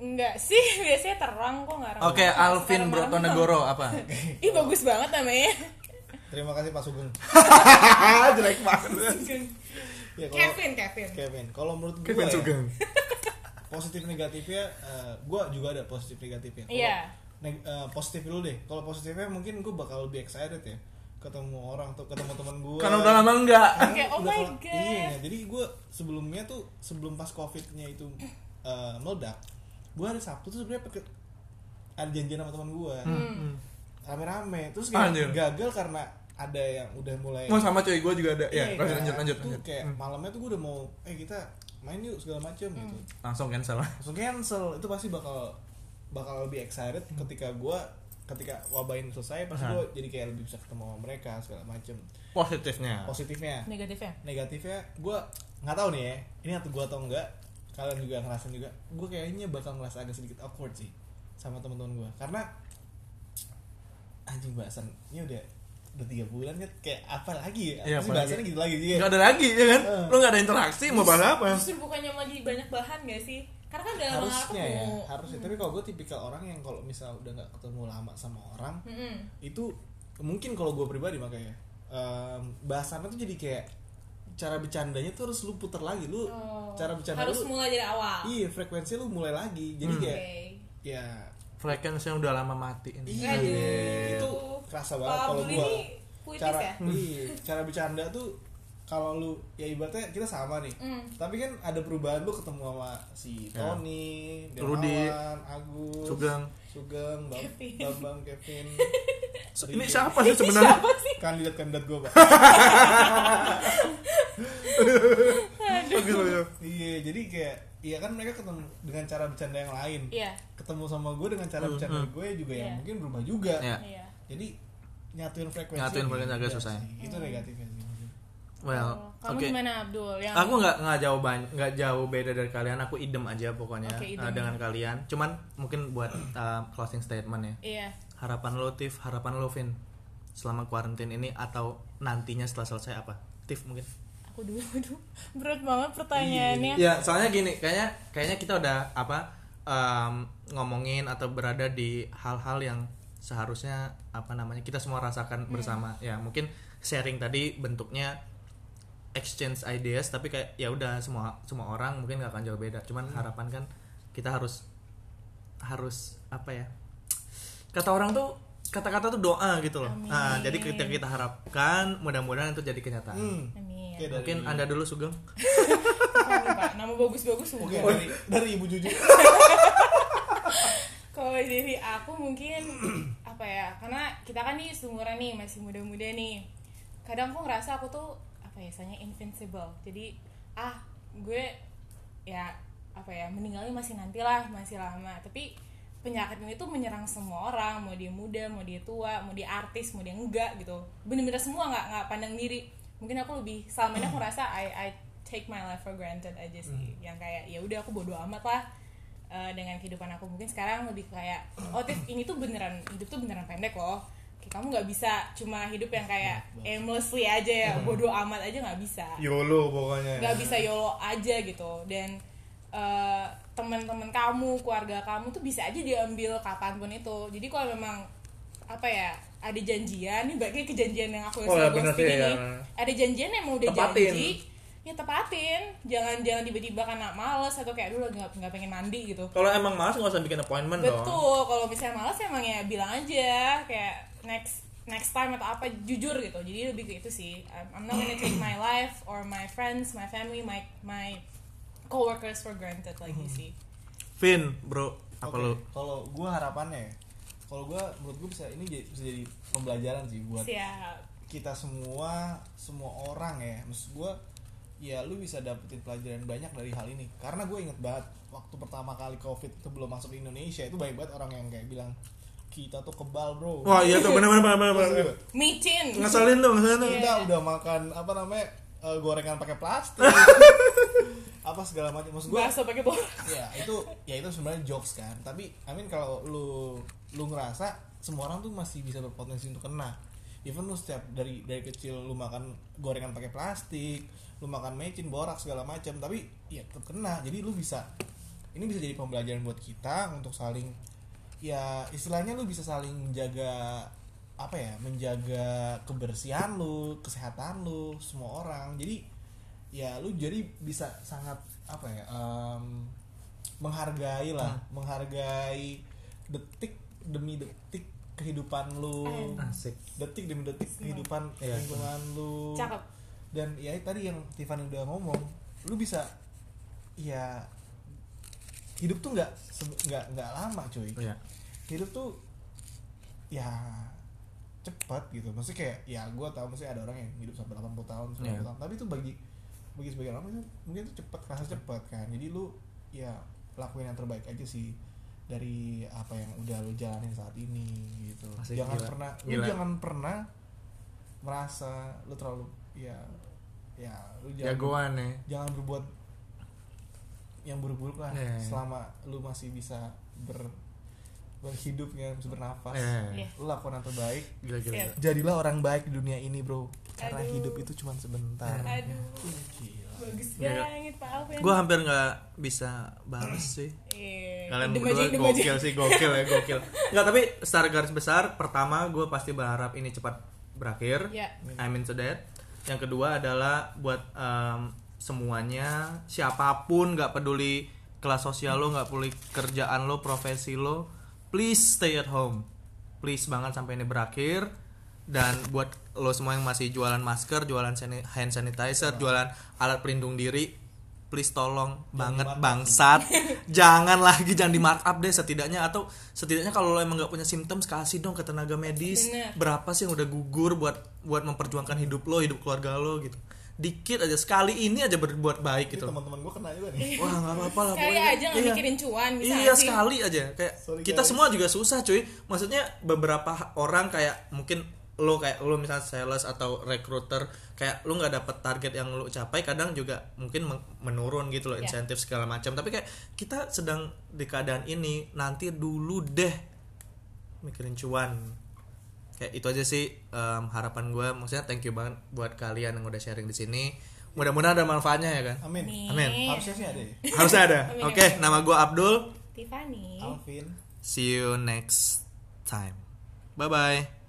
Speaker 3: enggak sih biasanya terang kok nggak ramai
Speaker 1: Oke,
Speaker 3: Suka
Speaker 1: Alvin
Speaker 3: malam.
Speaker 1: Brotonegoro apa?
Speaker 3: ih bagus banget namanya
Speaker 2: Terima kasih Pak Sugeng.
Speaker 1: Jelek banget.
Speaker 2: Ya, kalau-
Speaker 3: Kevin, Kevin.
Speaker 2: Kevin. Kalau menurut gue
Speaker 1: Kevin
Speaker 2: ya,
Speaker 1: Sugeng.
Speaker 2: positif negatifnya, eh, gue juga ada positif negatifnya. Kalau
Speaker 3: Iya.
Speaker 2: neg- eh, positif dulu deh. Kalau positifnya mungkin gue bakal lebih excited ya ketemu orang tuh ketemu teman gue.
Speaker 1: Karena Kan udah lama enggak.
Speaker 2: Karena
Speaker 3: Kayak, oh
Speaker 2: udah
Speaker 3: my
Speaker 2: kalau-
Speaker 3: God.
Speaker 2: Iya, jadi gue sebelumnya tuh sebelum pas covidnya itu eh, meledak, gue hari Sabtu tuh sebenarnya pake- ada janjian sama teman gue.
Speaker 3: Hmm.
Speaker 2: Rame-rame. Terus kayak
Speaker 1: Hmm. Anjir.
Speaker 2: gagal karena ada yang udah mulai
Speaker 1: Mau sama cuy gue juga ada. Ya,
Speaker 2: Iya,
Speaker 1: lanjut
Speaker 2: kayak
Speaker 1: lanjut lanjut. Hmm,
Speaker 2: tuh
Speaker 1: lanjut.
Speaker 2: kayak malamnya tuh gue udah mau eh kita main yuk segala macem
Speaker 3: Hmm.
Speaker 2: gitu
Speaker 1: Langsung cancel.
Speaker 2: langsung cancel itu pasti bakal bakal lebih excited ketika gue ketika wabah ini selesai pasti gue jadi kayak lebih bisa ketemu sama mereka segala macem
Speaker 1: Positifnya.
Speaker 2: positifnya
Speaker 3: Negatifnya.
Speaker 2: negatifnya gue nggak tahu nih ya ini atau gue atau enggak kalian juga ngerasain juga gue kayaknya bakal ngerasa agak sedikit awkward sih sama teman-teman gue karena anjing bahasannya udah udah tiga bulan kan kayak apa lagi ya,
Speaker 1: Iya,
Speaker 2: Pasti
Speaker 1: apa lagi?
Speaker 2: bahasannya gitu lagi juga
Speaker 1: Enggak ada lagi ya kan?
Speaker 2: Eh.
Speaker 1: Lu enggak ada interaksi mau bahas apa?
Speaker 3: Justru bukannya lagi banyak bahan gak sih? Karena kan udah lama
Speaker 2: harusnya ya
Speaker 3: ketemu.
Speaker 2: harusnya tapi kalau gue tipikal orang yang kalau misal udah nggak ketemu lama sama orang
Speaker 3: Mm-mm.
Speaker 2: itu mungkin kalau gue pribadi makanya em, bahasannya tuh jadi kayak cara bercandanya tuh harus lu puter lagi lu
Speaker 3: Oh.
Speaker 2: cara bercanda
Speaker 3: harus
Speaker 2: lu
Speaker 3: mulai dari awal.
Speaker 2: iya frekuensi lu mulai lagi
Speaker 1: Hmm.
Speaker 2: jadi
Speaker 3: Oke.
Speaker 2: kayak ya
Speaker 1: Frekuensi yang udah lama mati ini.
Speaker 2: iya itu kerasa banget
Speaker 3: Pak
Speaker 2: kalau
Speaker 3: Abdul
Speaker 2: gue
Speaker 3: ini puitis
Speaker 2: cara
Speaker 3: ya?
Speaker 2: iya, cara bercanda tuh kalau lu ya ibaratnya kita sama nih
Speaker 3: Mm.
Speaker 2: tapi kan ada perubahan lu ketemu sama si
Speaker 1: Ya.
Speaker 2: Tony,
Speaker 1: Rudy,
Speaker 2: Dermawan, Agus,
Speaker 1: Sugeng.
Speaker 2: Sugeng, Bab-
Speaker 3: Kevin.
Speaker 2: Bambang, Kevin,
Speaker 1: So,
Speaker 2: Rido.
Speaker 1: Ini
Speaker 3: iya.
Speaker 1: siapa sih sebenarnya?
Speaker 2: kandidat kandidat gue pak.
Speaker 1: Bagus,
Speaker 3: Oh,
Speaker 1: bagus.
Speaker 2: iya jadi kayak iya kan mereka ketemu dengan cara bercanda yang lain.
Speaker 3: Iya.
Speaker 2: Ketemu sama gue dengan cara bercanda gue juga yang
Speaker 3: Iya.
Speaker 2: mungkin berubah juga.
Speaker 1: Hmm, Iya.
Speaker 3: Iya.
Speaker 2: Jadi nyatuin frekuensi.
Speaker 1: Nyatuin
Speaker 2: ini
Speaker 1: frekuensi agak
Speaker 2: enggak
Speaker 1: susah ya. Nah.
Speaker 2: sih. Itu
Speaker 3: Hmm.
Speaker 2: negatifnya sih.
Speaker 1: Well,
Speaker 3: Oh. Kamu
Speaker 1: oke.
Speaker 3: gimana Abdul? Yang
Speaker 1: aku nggak nggak jauh ban- nggak jauh beda dari kalian aku idem aja pokoknya
Speaker 3: Oke, idem.
Speaker 1: eh, dengan kalian cuman mungkin buat eh, closing statement ya
Speaker 3: Iya.
Speaker 1: harapan lo Tiff harapan lo Vin selama kuarantin ini atau nantinya setelah selesai apa Tiff mungkin
Speaker 3: Aku dulu aduh. Berat banget pertanyaannya.
Speaker 2: Iya,
Speaker 1: ya soalnya gini kayaknya kayaknya kita udah apa em, ngomongin atau berada di hal-hal yang seharusnya apa namanya kita semua rasakan bersama ya mungkin sharing tadi bentuknya exchange ideas tapi kayak ya udah semua semua orang mungkin gak akan jauh beda cuman harapan kan kita harus harus apa ya kata orang tuh kata-kata tuh doa gitu loh
Speaker 3: Amin.
Speaker 1: nah jadi kita kita harapkan mudah-mudahan itu jadi kenyataan
Speaker 2: Hmm.
Speaker 3: Amin.
Speaker 2: Oke, dari-
Speaker 1: mungkin anda dulu sugeng
Speaker 3: Bukan, Pak. Nama bagus-bagus juga.
Speaker 2: Oke, dari, dari Ibu Juju.
Speaker 3: Kalau dari aku mungkin apa ya? Karena kita kan nih seumuran nih, masih muda-muda nih. Kadang aku ngerasa aku tuh apa ya, soalnya invincible. Jadi ah, gue ya apa ya, meninggalnya masih nantilah, masih lama. Tapi penyakit ini tuh menyerang semua orang, mau dia muda, mau dia tua, mau dia artis, mau dia enggak gitu. Bener-bener semua nggak nggak pandang diri. Mungkin aku lebih selama ini aku rasa I, I take my life for granted aja sih. Yang kayak ya udah aku bodo amat lah eh, dengan kehidupan aku mungkin sekarang lebih kayak oh Tiff, ini tuh beneran hidup tuh beneran pendek loh Kayak kamu nggak bisa cuma hidup yang kayak aimlessly aja ya bodoh amat aja nggak bisa
Speaker 2: YOLO pokoknya.
Speaker 3: nggak bisa yolo aja gitu dan eh, teman-teman kamu keluarga kamu tuh bisa aja diambil kapanpun itu jadi kalau memang apa ya ada janjian ini baiknya kejanjian yang aku yang
Speaker 1: Oh, ya,
Speaker 3: selalu
Speaker 1: bener
Speaker 3: ghosting
Speaker 1: sih,
Speaker 3: ini.
Speaker 1: ya.
Speaker 3: ada janjian yang mau udah
Speaker 1: Tepatin.
Speaker 3: janji ya tepatin jangan jangan tiba-tiba karena males atau kayak dulu nggak nggak pengen mandi gitu
Speaker 1: kalau emang malas nggak usah bikin appointment dong
Speaker 3: Betul, kalau misalnya malas emang ya bilang aja kayak next next time atau apa jujur gitu. Jadi lebih ke itu sih. I'm, I'm not gonna take my life or my friends, my family, my my coworkers for granted lagi
Speaker 1: Hmm.
Speaker 3: sih.
Speaker 1: Vin bro apa
Speaker 2: Oke,
Speaker 1: lu
Speaker 2: Kalau gue harapannya, ya, kalau gue menurut gue bisa ini jadi, bisa jadi pembelajaran sih buat
Speaker 3: Siap.
Speaker 2: kita semua semua orang ya. Maksud gue ya lu bisa dapetin pelajaran banyak dari hal ini karena gue inget banget waktu pertama kali covid itu belum masuk ke Indonesia itu banyak banget orang yang kayak bilang kita tuh kebal bro
Speaker 1: wah iya tuh benar-benar
Speaker 2: Terus
Speaker 1: benar-benar
Speaker 2: gue,
Speaker 3: Micin.
Speaker 1: ngeselin tuh ngeselin tuh
Speaker 2: kita udah makan apa namanya eh, gorengan pakai plastik apa segala macam maksud gue
Speaker 3: Bahasa pakai bola.
Speaker 2: ya itu ya itu sebenarnya jokes kan tapi I mean kalau lu lu ngerasa semua orang tuh masih bisa berpotensi untuk kena even lu setiap dari dari kecil lu makan gorengan pakai plastik lu makan mecin borak segala macam tapi ya tetap kena jadi lu bisa ini bisa jadi pembelajaran buat kita untuk saling ya istilahnya lu bisa saling menjaga apa ya menjaga kebersihan lu kesehatan lu semua orang jadi ya lu jadi bisa sangat apa ya em, menghargai lah menghargai detik demi detik kehidupan lu
Speaker 1: asik
Speaker 2: detik demi detik kehidupan
Speaker 1: Iya.
Speaker 2: lingkungan lu
Speaker 3: Cakep.
Speaker 2: dan ya tadi yang Tiffany udah ngomong lu bisa ya hidup tuh nggak se- nggak nggak lama cuy
Speaker 1: Iya.
Speaker 2: hidup tuh ya cepat gitu maksudnya kayak ya gue tau maksudnya ada orang yang hidup sampai 80 tahun 90
Speaker 1: Iya.
Speaker 2: tahun tapi itu bagi bagi sebagian orang itu mungkin itu cepat kerasa cepat kan jadi lu ya lakuin yang terbaik aja sih dari apa yang udah lu jalanin saat ini gitu
Speaker 1: Asik,
Speaker 2: jangan
Speaker 1: gila.
Speaker 2: pernah lu
Speaker 1: Gila.
Speaker 2: jangan pernah merasa lu terlalu ya ya lu jangan
Speaker 1: jagoan ya
Speaker 2: jangan berbuat yang buruk-buruk lah
Speaker 1: Iya.
Speaker 2: selama lu masih bisa ber berhidup ya masih bernafas
Speaker 1: Eh,
Speaker 3: Iya.
Speaker 2: lu lakukan yang terbaik
Speaker 1: gila gila,
Speaker 3: Iya.
Speaker 1: gila.
Speaker 2: jadilah orang baik di dunia ini bro karena
Speaker 3: Aduh.
Speaker 2: hidup itu cuma sebentar
Speaker 3: Aduh,
Speaker 2: Gila.
Speaker 3: bagus
Speaker 1: Iya.
Speaker 3: banget Pak Alvin.
Speaker 1: gue hampir nggak bisa balas sih
Speaker 3: Eh,
Speaker 1: kalian
Speaker 3: dem aja,
Speaker 1: berdua
Speaker 3: dem aja.
Speaker 1: gokil sih gokil ya gokil nggak tapi secara garis besar pertama gue pasti berharap ini cepat berakhir
Speaker 3: Ya.
Speaker 1: I'm into that yang kedua adalah buat em, semuanya siapapun nggak peduli kelas sosial lo nggak peduli kerjaan lo profesi lo please stay at home please banget sampai ini berakhir dan buat lo semua yang masih jualan masker jualan sani- hand sanitizer jualan alat pelindung diri please tolong banget bangsat jangan lagi jangan di markup deh setidaknya atau setidaknya kalau lo emang nggak punya symptoms kasih dong ke tenaga medis
Speaker 3: Bener.
Speaker 1: berapa sih yang udah gugur buat buat memperjuangkan hidup lo hidup keluarga lo gitu dikit aja sekali ini aja berbuat baik
Speaker 2: ini
Speaker 1: gitu
Speaker 2: teman-teman gue kena juga nih
Speaker 1: wah nggak apa-apa lah
Speaker 3: Sekali
Speaker 1: pokoknya.
Speaker 3: aja nggak
Speaker 1: Iya.
Speaker 3: mikirin cuan bisa
Speaker 1: Iya
Speaker 3: nggak sih?
Speaker 1: sekali aja kayak
Speaker 2: Sorry,
Speaker 1: kita
Speaker 2: guys.
Speaker 1: semua juga susah cuy. Maksudnya beberapa ha- orang kayak mungkin lo kayak lo misalnya sales atau recruiter kayak lo nggak dapet target yang lo capai kadang juga mungkin men- menurun gitu loh
Speaker 3: Iya.
Speaker 1: insentif segala macam tapi kayak kita sedang di keadaan ini nanti dulu deh mikirin cuan kayak itu aja sih em, harapan gue maksudnya thank you banget buat kalian yang udah sharing di sini mudah-mudahan ada manfaatnya ya kan
Speaker 2: amin
Speaker 1: Amin.
Speaker 2: harusnya sih ada ya
Speaker 1: harusnya ada
Speaker 3: Amin,
Speaker 1: oke nama gue Abdul
Speaker 3: Tiffany.
Speaker 2: Alvin
Speaker 1: See you next time. Bye bye.